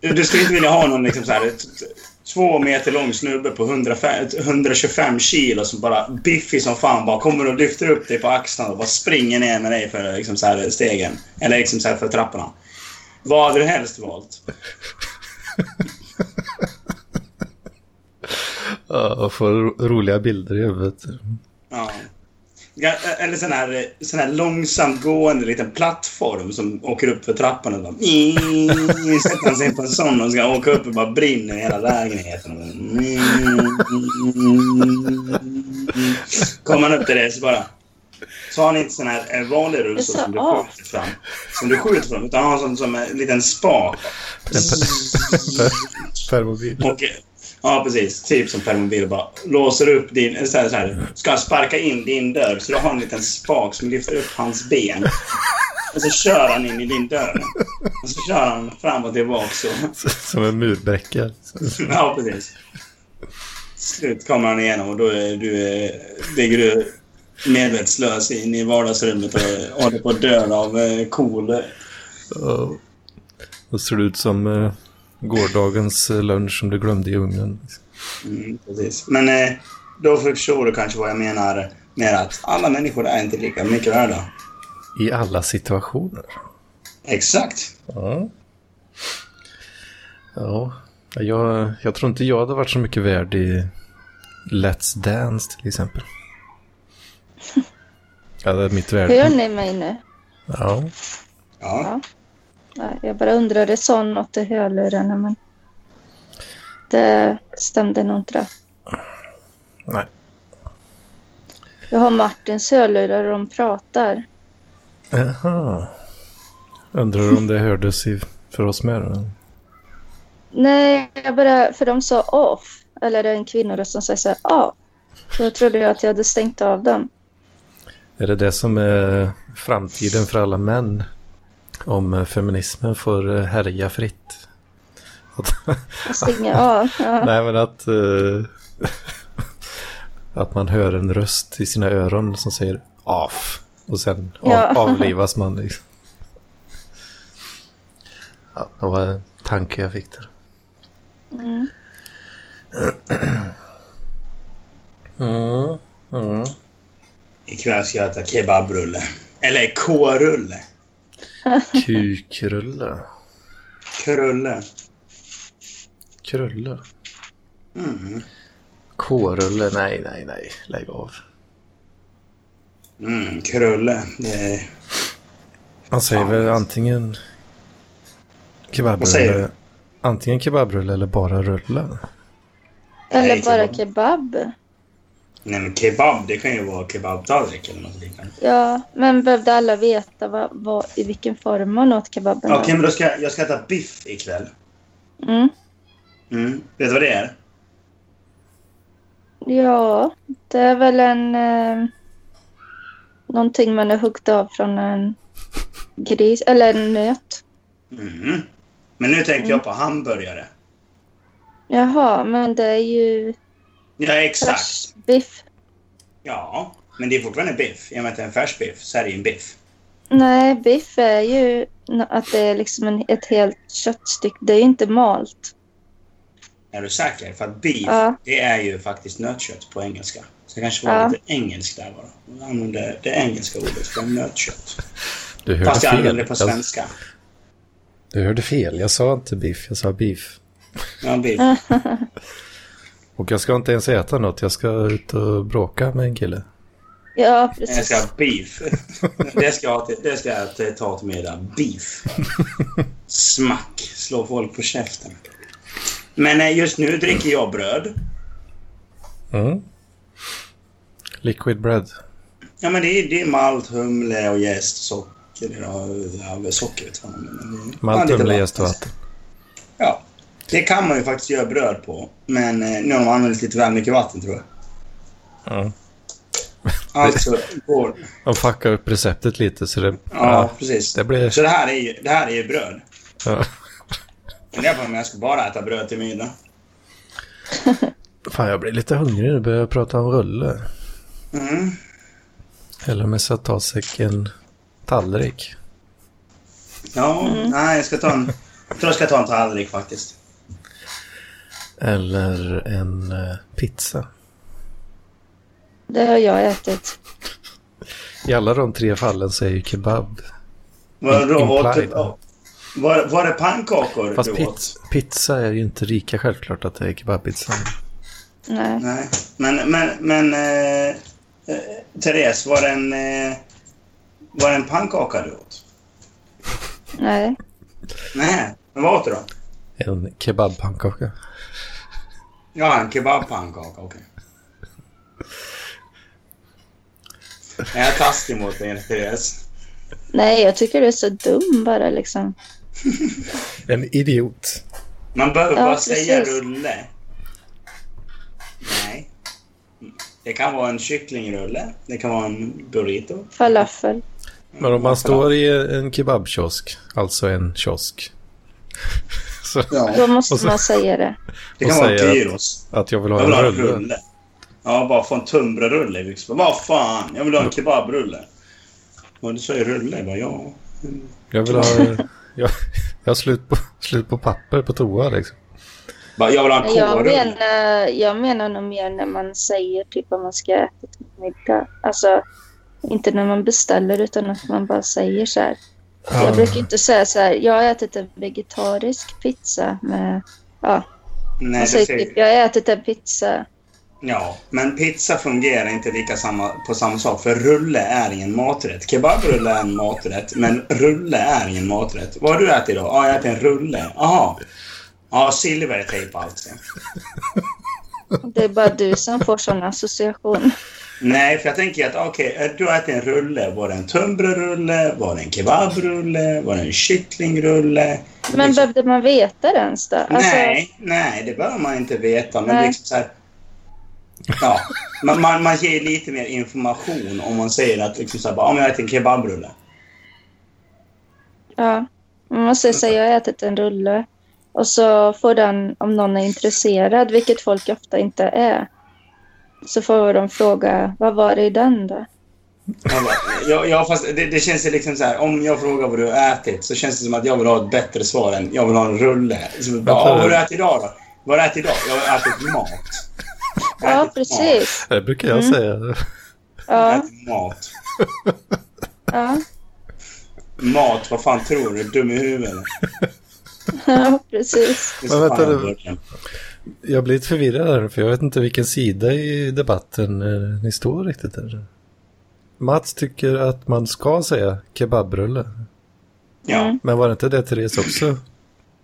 Du, du skulle inte vilja ha någon liksom så här, ett, två meter lång snubbe på 105, 125 kilo som bara biffig som fan bara kommer och lyfter upp dig på axlarna och bara springer ner med dig för liksom så här, stegen. Eller liksom så här, för trapporna. Vad hade du helst valt? Ja, och få ro- roliga bilder i huvudet. Ja. Ja, Eller sån här, sån här långsamt gående liten plattform som åker upp för trappan och bara... Sätter han sig på en sån och ska åka upp och bara brinner i hela lägenheten. Och bara, Kommer han upp till det så bara... Så har han inte sån här eh, vanlig rullstol som du Ja. skjuter fram. Som du skjuter fram. Utan han har sån som en liten spak. Permobil. Och, eh, ja, precis. Typ som permobil bara låser upp din... eh, Så här, så här, ska sparka in din dörr, så du har en liten spak som lyfter upp hans ben. Och så kör han in i din dörr. Och så kör han fram och tillbaka. Så. Som en murbräcka. Ja, precis. Slut kommer han igenom och då är du, eh, ligger du medvetslös in i vardagsrummet och eh, håller på att dö av eh, KOL. Ja. Och ser ut som eh, gårdagens eh, lunch som du glömde i ugnen. Mm, precis. Men eh, då förstår du kanske vad jag menar med att alla människor är inte lika mycket värda. I alla situationer. Exakt. Ja. Ja. Jag, jag tror inte jag hade varit så mycket värd i Let's Dance till exempel. Ja, det är mitt Hör värde. ni mig nu? Ja. Ja. Nej, Jag bara undrade, sa något i hörlurarna men det stämde nog inte. det. Nej. Jag har Martins hörlurar och de pratar. Jaha. Undrar om det hördes i, för oss med. då? Nej, jag bara, för de sa off. Eller det är en kvinnoröst som säger så här, off. Då trodde jag att jag hade stängt av den. Är det det som är framtiden för alla män? Om eh, feminismen får eh, härja fritt? Att, Jag stänger av. Ja. nej, men att... eh, att man hör en röst i sina öron som säger AF. Och sen av, Ja. avlivas man. Liksom. Ja, det var en tanke jag fick där. Mm. Mm, mm. Ikväll ska jag äta kebabrulle. Eller k-rulle. Kukrulle. Krulle. Krulle. Mm. K-rulle. Nej, nej, nej. Lägg av. Mm, krulle. Det är... Man säger väl antingen alltså. Vad säger kebabrulle. du? Antingen kebabrulle eller bara rulle. Eller Nej, bara kebab. kebab. Nej, men kebab, det kan ju vara kebabtallrik eller något liknande. Ja, men behövde alla veta vad, vad, i vilken form man åt kebaben? Okej, men då ska jag, jag ska äta biff ikväll. Mm. Mm. Vet du vad det är? Ja, det är väl en... Eh, någonting man har huggit av från en gris eller en nöt. Mm. Men nu tänkte jag på hamburgare. Jaha, men det är ju Ja, exakt. färsbiff. Ja, men det är fortfarande biff. I och med att det är en färsk biff så är det ju en biff. Nej, biff är ju n- att det är liksom en, ett helt köttstycke. Det är ju inte malt. Är du säker? För att beef, Ja. det är ju faktiskt nötkött på engelska. Så det kanske var Ja. lite engelsk där bara. Hon använde det engelska ordet för nötkött. Du hörde Fast jag fel. använde det på Jag, svenska. du hörde fel. Jag sa inte beef. Jag sa beef. Ja, beef. Och jag ska inte ens äta något. Jag ska ut och bråka med en kille. Ja, Jag precis. ska ha beef. Det ska jag, till, det ska jag till, ta till middag. Beef. Smack. Slå folk på käften. Men eh, just nu dricker jag bröd. Mm. Liquid bread. Ja, men det är, det är malt, humle och jäst och socker. Ja, ja, socker vet jag inte, men det- ja, Malt, lite humle, vatten. jäst och vatten. Ja. Det kan man ju faktiskt göra bröd på. Men eh, nu har man använt lite väl mycket vatten, tror jag. Ja. Alltså, går... De fuckar upp receptet lite så det... Ja, precis. det blir- Så det här är ju, det här är ju bröd. Ja. Funderar på om jag ska bara äta bröd till middag. Fan, jag blir lite hungrig nu. Börjar jag prata om rulle. Mm. Eller om jag ska ta sig en tallrik. Ja, nej, jag ska ta en... Jag tror jag ska ta en tallrik faktiskt. Eller en eh, pizza. Det har jag ätit. I alla de tre fallen så är ju kebab. Var, då, Implied. åt, var, var det pannkakor Fast du pizza, åt? pizza är ju inte lika självklart att det är kebabpizza. Nej. Nej. Men, men, men eh, eh, Therese, var det en, eh, var det en pannkaka du åt? Nej. Nej, men vad åt du då? En kebabpannkaka. Ja, en kebabpannkaka, okej. Nej, jag är taskig mot dig, Therese. Nej, jag tycker du är så dum bara liksom. En idiot. Man behöver Ja, bara säga precis. rulle. Nej. Det kan vara en kycklingrulle. Det kan vara en burrito. Falafel. Men om man står i en kebabkiosk, alltså en kiosk, så Då Ja. Och måste så- man säga det. Det Och kan vara en säga att- gyros. att jag vill Jag vill ha ha en en rulle. rulle. Ja, bara få en tunnbrödsrulle. liksom. Vad fan, jag vill ha en kebabrulle. Och du säger rulle, bara ja. Jag vill ha... Jag, jag har slut på, slut på papper på toa liksom. Bara, jag vill ha en Jag kårulle. menar, jag menar nog mer när man säger typ vad man ska äta till middag. Alltså, inte när man beställer utan att man bara säger så här. Jag brukar inte säga så här, jag har ätit en vegetarisk pizza med... Ja, Nej, man det säger säger typ, jag har ätit en pizza. Ja, men pizza fungerar inte lika samma, på samma sak. För rulle är ingen maträtt. Kebabrulle är en maträtt, men rulle är ingen maträtt. Vad har du ätit idag? Ja, jag har ätit en rulle. Jaha. Ja, silvertejp alltså. Det är bara du som får sådana associationer. Nej, för jag tänker att okej, du har ätit en rulle. Var det en tunnbrödsrulle? Var det en kebabrulle? Var det en kycklingrulle? Men Liksom- behövde man veta det ens då? Alltså, nej, nej, det behöver man inte veta. Men Nej. liksom så här, Ja, man, man, man ger lite mer information om man säger att liksom så här, bara, "Ja, men jag äter en kebabrulle. Ja. Men Man säger så här, jag har ätit en rulle. Och så får den, om någon är intresserad, vilket folk ofta inte är, så får de fråga, vad var det i den då? Man bara, Ja, ja, fast det, det känns ju liksom så här, om jag frågar vad du har ätit så känns det som att jag vill ha ett bättre svar än jag vill ha en rulle. Så bara, Vänta "Ja, vad nu." har du ätit idag då? Vad har du ätit idag? Jag har ätit mat. Jag har Ja, ätit mat. precis. Det brukar jag Mm. säga. Jag har Ja, ätit mat. ja, Mat, vad fan tror du? Är du Dum i huvudet? ja precis. Det Men är så vänta fan jag nu. börjar. Jag blir lite förvirrad här nu, för jag vet inte vilken sida i debatten eh, ni står riktigt. Där. Mats tycker att man ska säga kebabrulle. Ja. Mm. Men var det inte det Therese också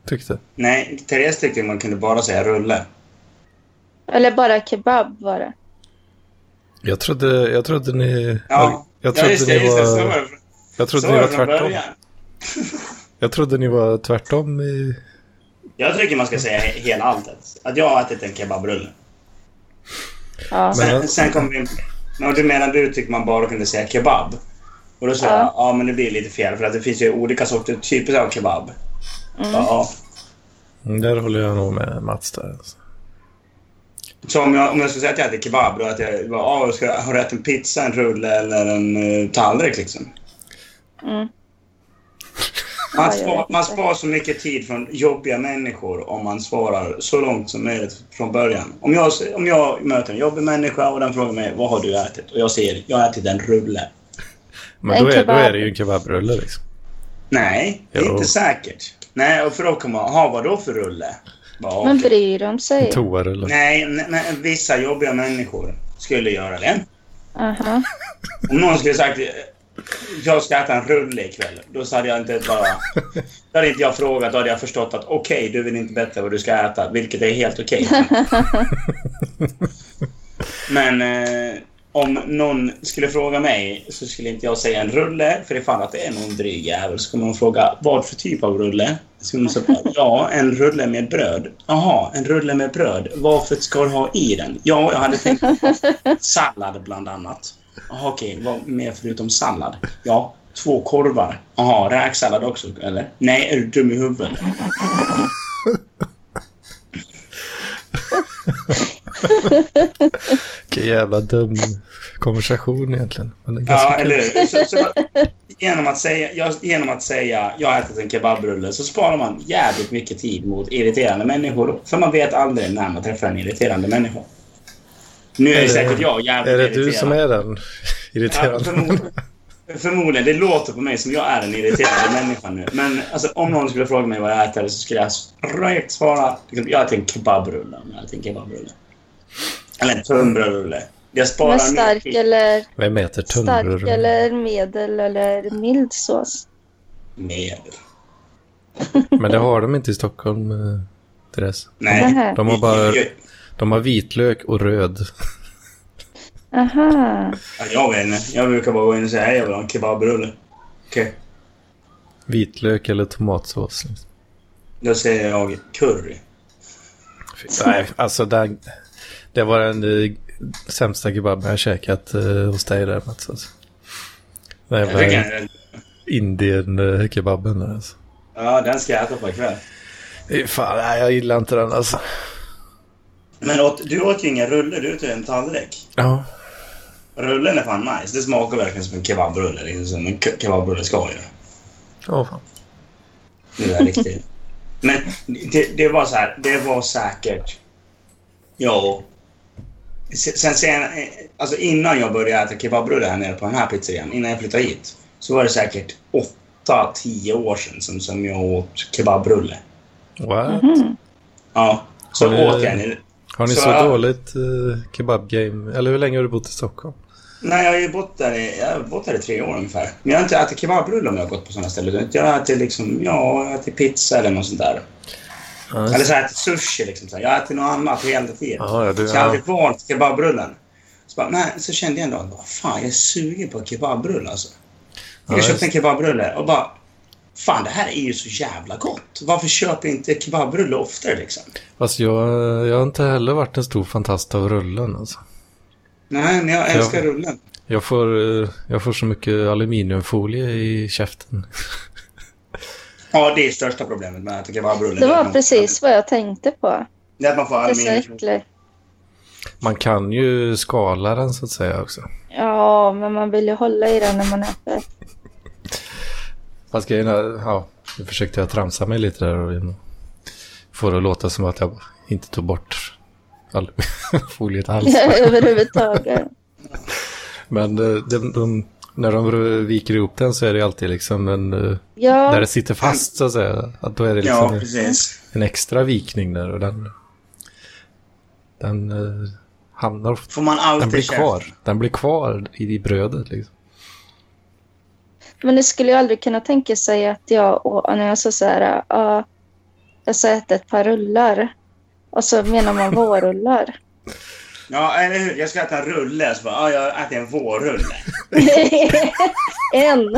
tyckte? Nej, Therese tyckte man kunde bara säga rulle. Eller bara kebab var det. Jag trodde, jag trodde ni... Ja, jag ja trodde just det. ni Just det. Så var var, det, jag så trodde ni var var det från tvärtom. början. Jag trodde ni var tvärtom i... Jag tycker man ska säga he- hela alltet. Att jag har ätit en kebabrulle. Ja, Men- Sen, sen kom vi in men Du menar du tyckte typ man bara kunde säga kebab? Och då sa Ja. jag, ja men det blir lite fel för att det finns ju olika sorter, typer av kebab. Ja, Mm, Där håller jag nog med Mats där. Alltså. så om jag, om jag skulle säga att jag äter kebab, då att jag bara, ja, jag ska, har du ätit en pizza, en rulle eller en eh, tallrik liksom? Mm. Man, Ja, jag spar, vet man inte. sparar så mycket tid från jobbiga människor om man svarar så långt som möjligt från början. Om jag, om jag möter en jobbig människa och den frågar mig vad har du ätit? Och jag säger jag har ätit en rulle. Men En då är, då kebab. är det ju en kebabrulle liksom. Nej, det är Jo. inte säkert. Nej, och för då kommer man, ha vad då för rulle? Bara, men okej. bryr de En sig? toarulle. nej, nej, nej, vissa jobbiga människor skulle göra det. Aha. Om någon skulle sagt jag ska äta en rulle ikväll, då så hade jag inte bara... Då hade inte jag frågat, då hade jag förstått att okej, du vill inte berätta vad du ska äta, vilket är helt okej. Men eh, om någon skulle fråga mig så skulle inte jag säga en rulle, för ifall att det är någon dryg jävel så kommer de fråga vad för typ av rulle? Så kommer de säga ja, en rulle med bröd. Jaha, en rulle med bröd. Varför ska du ha i den? Ja, jag hade tänkt Sallad bland annat. Jaha, okej. Vad mer förutom sallad? Ja, två korvar. Jaha, räksallad också, eller? Nej, är du dum i huvudet? Vilken jävla dum konversation egentligen. Men det är ganska Ja, kul. eller hur? så, så, bara- genom, att säga, jag, genom att säga jag har ätit en kebabrulle så sparar man jävligt mycket tid mot irriterande människor. För man vet aldrig när man träffar en irriterande människa. Nu är Är det det- säkert jag jävligt Är det irriterad. du som är den Ja, irriterande? förmodligen. Förmodligen. Det låter på mig som jag är en irriterande människa nu. Men alltså, om någon skulle fråga mig vad jag äter så skulle jag direkt svara liksom, jag äter en kebabrulle. om Jag äter en kebabrulle. Eller en tunnbrödsrulle. Jag sparar Men mer stark tid. eller, Vem äter stark tunnbrödsrulle? eller medel eller mild sås? Mer. Men det har de inte i Stockholm, eh, Therese. Nej. Nähä. De har bara Jag, de har vitlök och röd. Aha. jag, jag vet inte. Jag brukar bara gå in och säga hej, jag vill ha en kebabrulle. Okej. Vitlök eller tomatsås. liksom. Då säger jag curry. Fy, Nej, alltså det, det var den eh, sämsta kebaben jag käkat eh, hos dig där Mats. Alltså. Den Jag tycker, jävla den- indien-kebaben där alltså. ja, den ska jag äta på ikväll. Fy Fan, nej, jag gillar inte den alltså. Men åt, du åt ju ingen rulle, du åt ju en tallrik. Ja, Rullen är fan nice. Det smakar verkligen som en kebabrulle. Liksom som en ke- kebabrulle ska göra. oh, fan. Det är riktigt. Men det, det var så här. Det var säkert... Ja. Se- Sen, sen eh, Alltså innan jag började äta kebabrulle här nere på den här pizzerian, innan jag flyttade hit, så var det säkert åtta, tio år sedan som, som jag åt kebabrulle. What? Mhm. Ja. Så Har ni- åt jag en... Har ni så, Så jag- dåligt eh, kebabgame? Eller hur länge har du bott i Stockholm? Nej, jag har ju bott där, i, jag har bott där i tre år ungefär. Men jag har inte ätit kebabrulle om jag har gått på sådana ställen. utan Jag har ätit, liksom, ja, jag har ätit pizza eller något sånt där. Ja, Eller så har jag ätit sushi. Liksom, så här. Jag har ätit något annat hela tiden. Alltså- Ja, ja, du- så jag har ja. aldrig valt kebabrullen. Så, bara, nej, så kände jag en dag att fan, jag är sugen på kebabrulle. Alltså. Ja, Jag köpte en just- kebabrulle och bara... Fan, det här är ju så jävla gott. Varför köper jag inte kebabrulle oftare liksom? Fast jag, jag har inte heller varit en stor fantast av rullen alltså. Nej, men jag Ja. älskar rullen. Jag får, eh, jag får så mycket aluminiumfolie i käften. Ja, det är största problemet med att äta kebabrullen. Det var precis vad jag tänkte på. Det är att man får Det är så aluminium. äckligt. Man kan ju skala den så att säga också. Ja, men man vill ju hålla i den när man äter. Fast grejen är, ja, nu försökte jag tramsa mig lite där och få det att låta som att jag inte tog bort aluminiumfoliet alls. Överhuvudtaget. Men eh, de, de, när de viker ihop den så är det alltid liksom en... eh, Där Ja, det sitter fast så att säga. Att då är det Ja, liksom en, precis. en extra vikning där och den... Den eh, hamnar... Får man Den alltid blir käften. kvar. Den blir kvar i, i brödet liksom. men det skulle jag aldrig kunna tänka sig att jag, och när jag sa så här, ja, jag ska äta ett par rullar. Och så menar man vårrullar. Ja, eller hur? Jag ska äta en rulle. Så bara, ja, jag äter en vårrulle. en.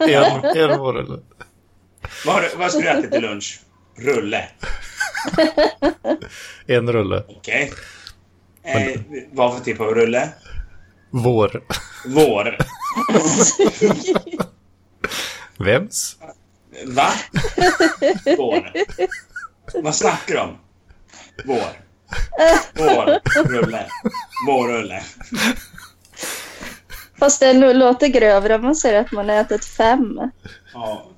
En, en år eller? Vad, har du- vad ska du äta till lunch? Rulle. En rulle. Okej. Eh, vad för typ av rulle? Vår. Vår. Vems? Va? Vår. Vad snackar du om? Vår. Vår. Rulle. Vårrulle. Fast det lo- låter grövre om man säger att man har ätit fem. Ja.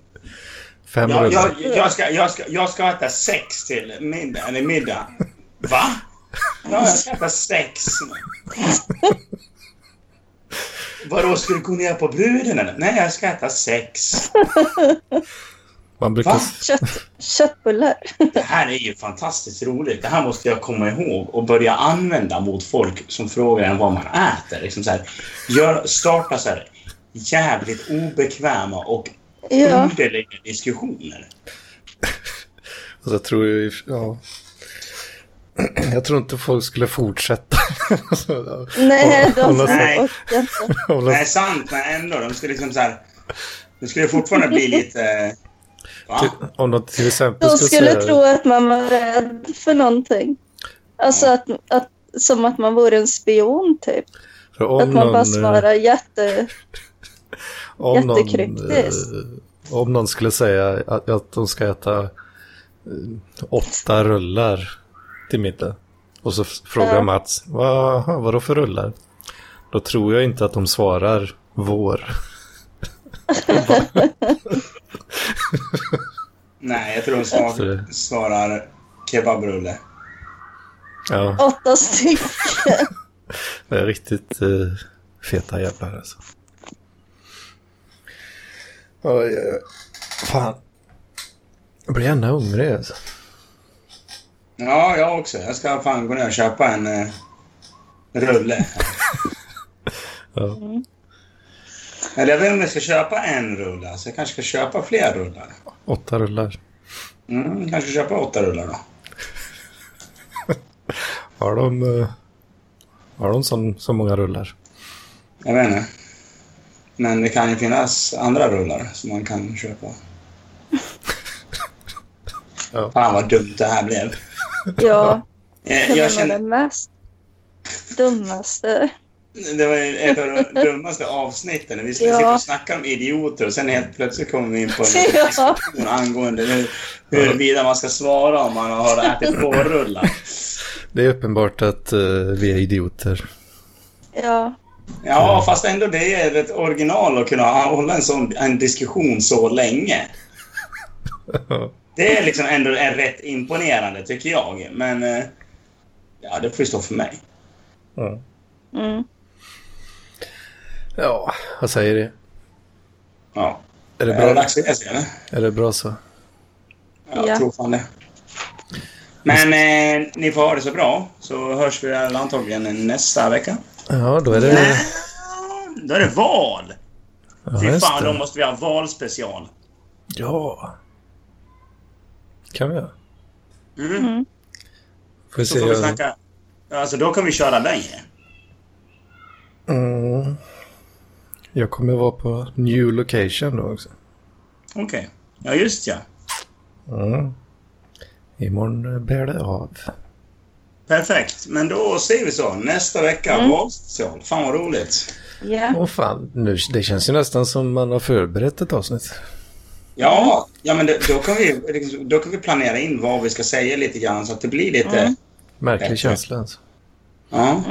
Fem Jag, rullar. jag, jag, ska, jag, ska, jag ska äta sex till middag. Eller middag. Va? Ja, jag ska äta sex. Vadå, ska du gå ner på bruden eller? Nej, jag ska äta sex. Man brukar... Va? Kött, köttbullar. Det här är ju fantastiskt roligt. Det här måste jag komma ihåg och börja använda mot folk som frågar en vad man äter. Liksom så här, gör, starta så här jävligt obekväma och Ja. underliga diskussioner. Alltså, jag tror ju... Ja. Jag tror inte folk skulle fortsätta. Alltså, Nej, de Hålla sig. orkar inte. hålla- Nej, sant, men ändå. De skulle liksom så här... Det skulle fortfarande bli lite... Va? till- Om de till exempel De skulle säga- tro att man var rädd för någonting. Alltså att, att, som att man vore en spion typ. För om Att man någon, eh, bara svarar jätte... om någon, jättekryptiskt. eh, om någon skulle säga att, att de ska äta eh, åtta rullar till middag. Och så f- frågar Ja. Mats, vad, aha, vadå för rullar? Då tror jag inte att de svarar vår. Nej, jag tror de svar, Så- svarar kebabrulle. Ja, Åtta stycken. det är riktigt eh, feta jävlar alltså. Oj, oj, oj. Fan. Jag blir gärna hungrig alltså. Ja, jag också. Jag ska fan gå ner och köpa en eh, rulle. Mm. Ja. Eller jag vet inte om jag ska köpa en rulle. Alltså, jag kanske ska köpa fler rullar. Åtta rullar. Mm, kanske köpa åtta rullar då. Har de, eh, har de sån, så många rullar? Jag vet inte. Men det kan ju finnas andra rullar som man kan köpa. Ja. Fan vad dumt det här blev. Eh, Ja, Jag, det jag var känner, den mest dummaste. det var ju ett av de dummaste avsnitten. när Vi skulle Ja. sitta och snacka om idioter och sen helt plötsligt kommer vi in på en Ja. diskussion angående hur- huruvida man ska svara om man har ätit vårrullar. Det är uppenbart att eh, vi är idioter. Ja, Ja, fast ändå det är ett original att kunna hålla en sån en diskussion så länge. Det är liksom ändå är rätt imponerande, tycker jag. Men eh, ja, det får ju stå för mig. mm. Ja, vad säger det? Ja. Är det Är det bra, dags för det, eller? är det bra så? Ja, Ja. Jag tror fan det. Men eh, ni får ha det så bra, så hörs vi väl antagligen nästa vecka. Ja, då är det... Då är det val! Ja, Fy just fan, då det. måste vi ha valspecial. Ja. kan vi göra. Mm. Får vi Så se. får vi Jag... snacka. Alltså, då kan vi köra längre. Mm. jag kommer vara på new location då också. Okej. Ja, just ja. Mm. Imorgon bär det av. Perfekt. Men då säger vi så. Nästa vecka, Mm. valspecial. Fan vad roligt. Ja. Åh fan, nu, det känns ju nästan som man har förberett ett avsnitt. Ja, ja men det, då, kan vi, då kan vi planera in vad vi ska säga lite grann så att det blir lite... Mm. Märklig Verkligen. känsla alltså. Ja.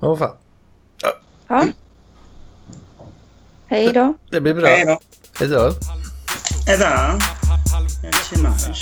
Åh fan, ja. Hej då. det blir bra. Hej då. Hej då. Hej då. Tjena.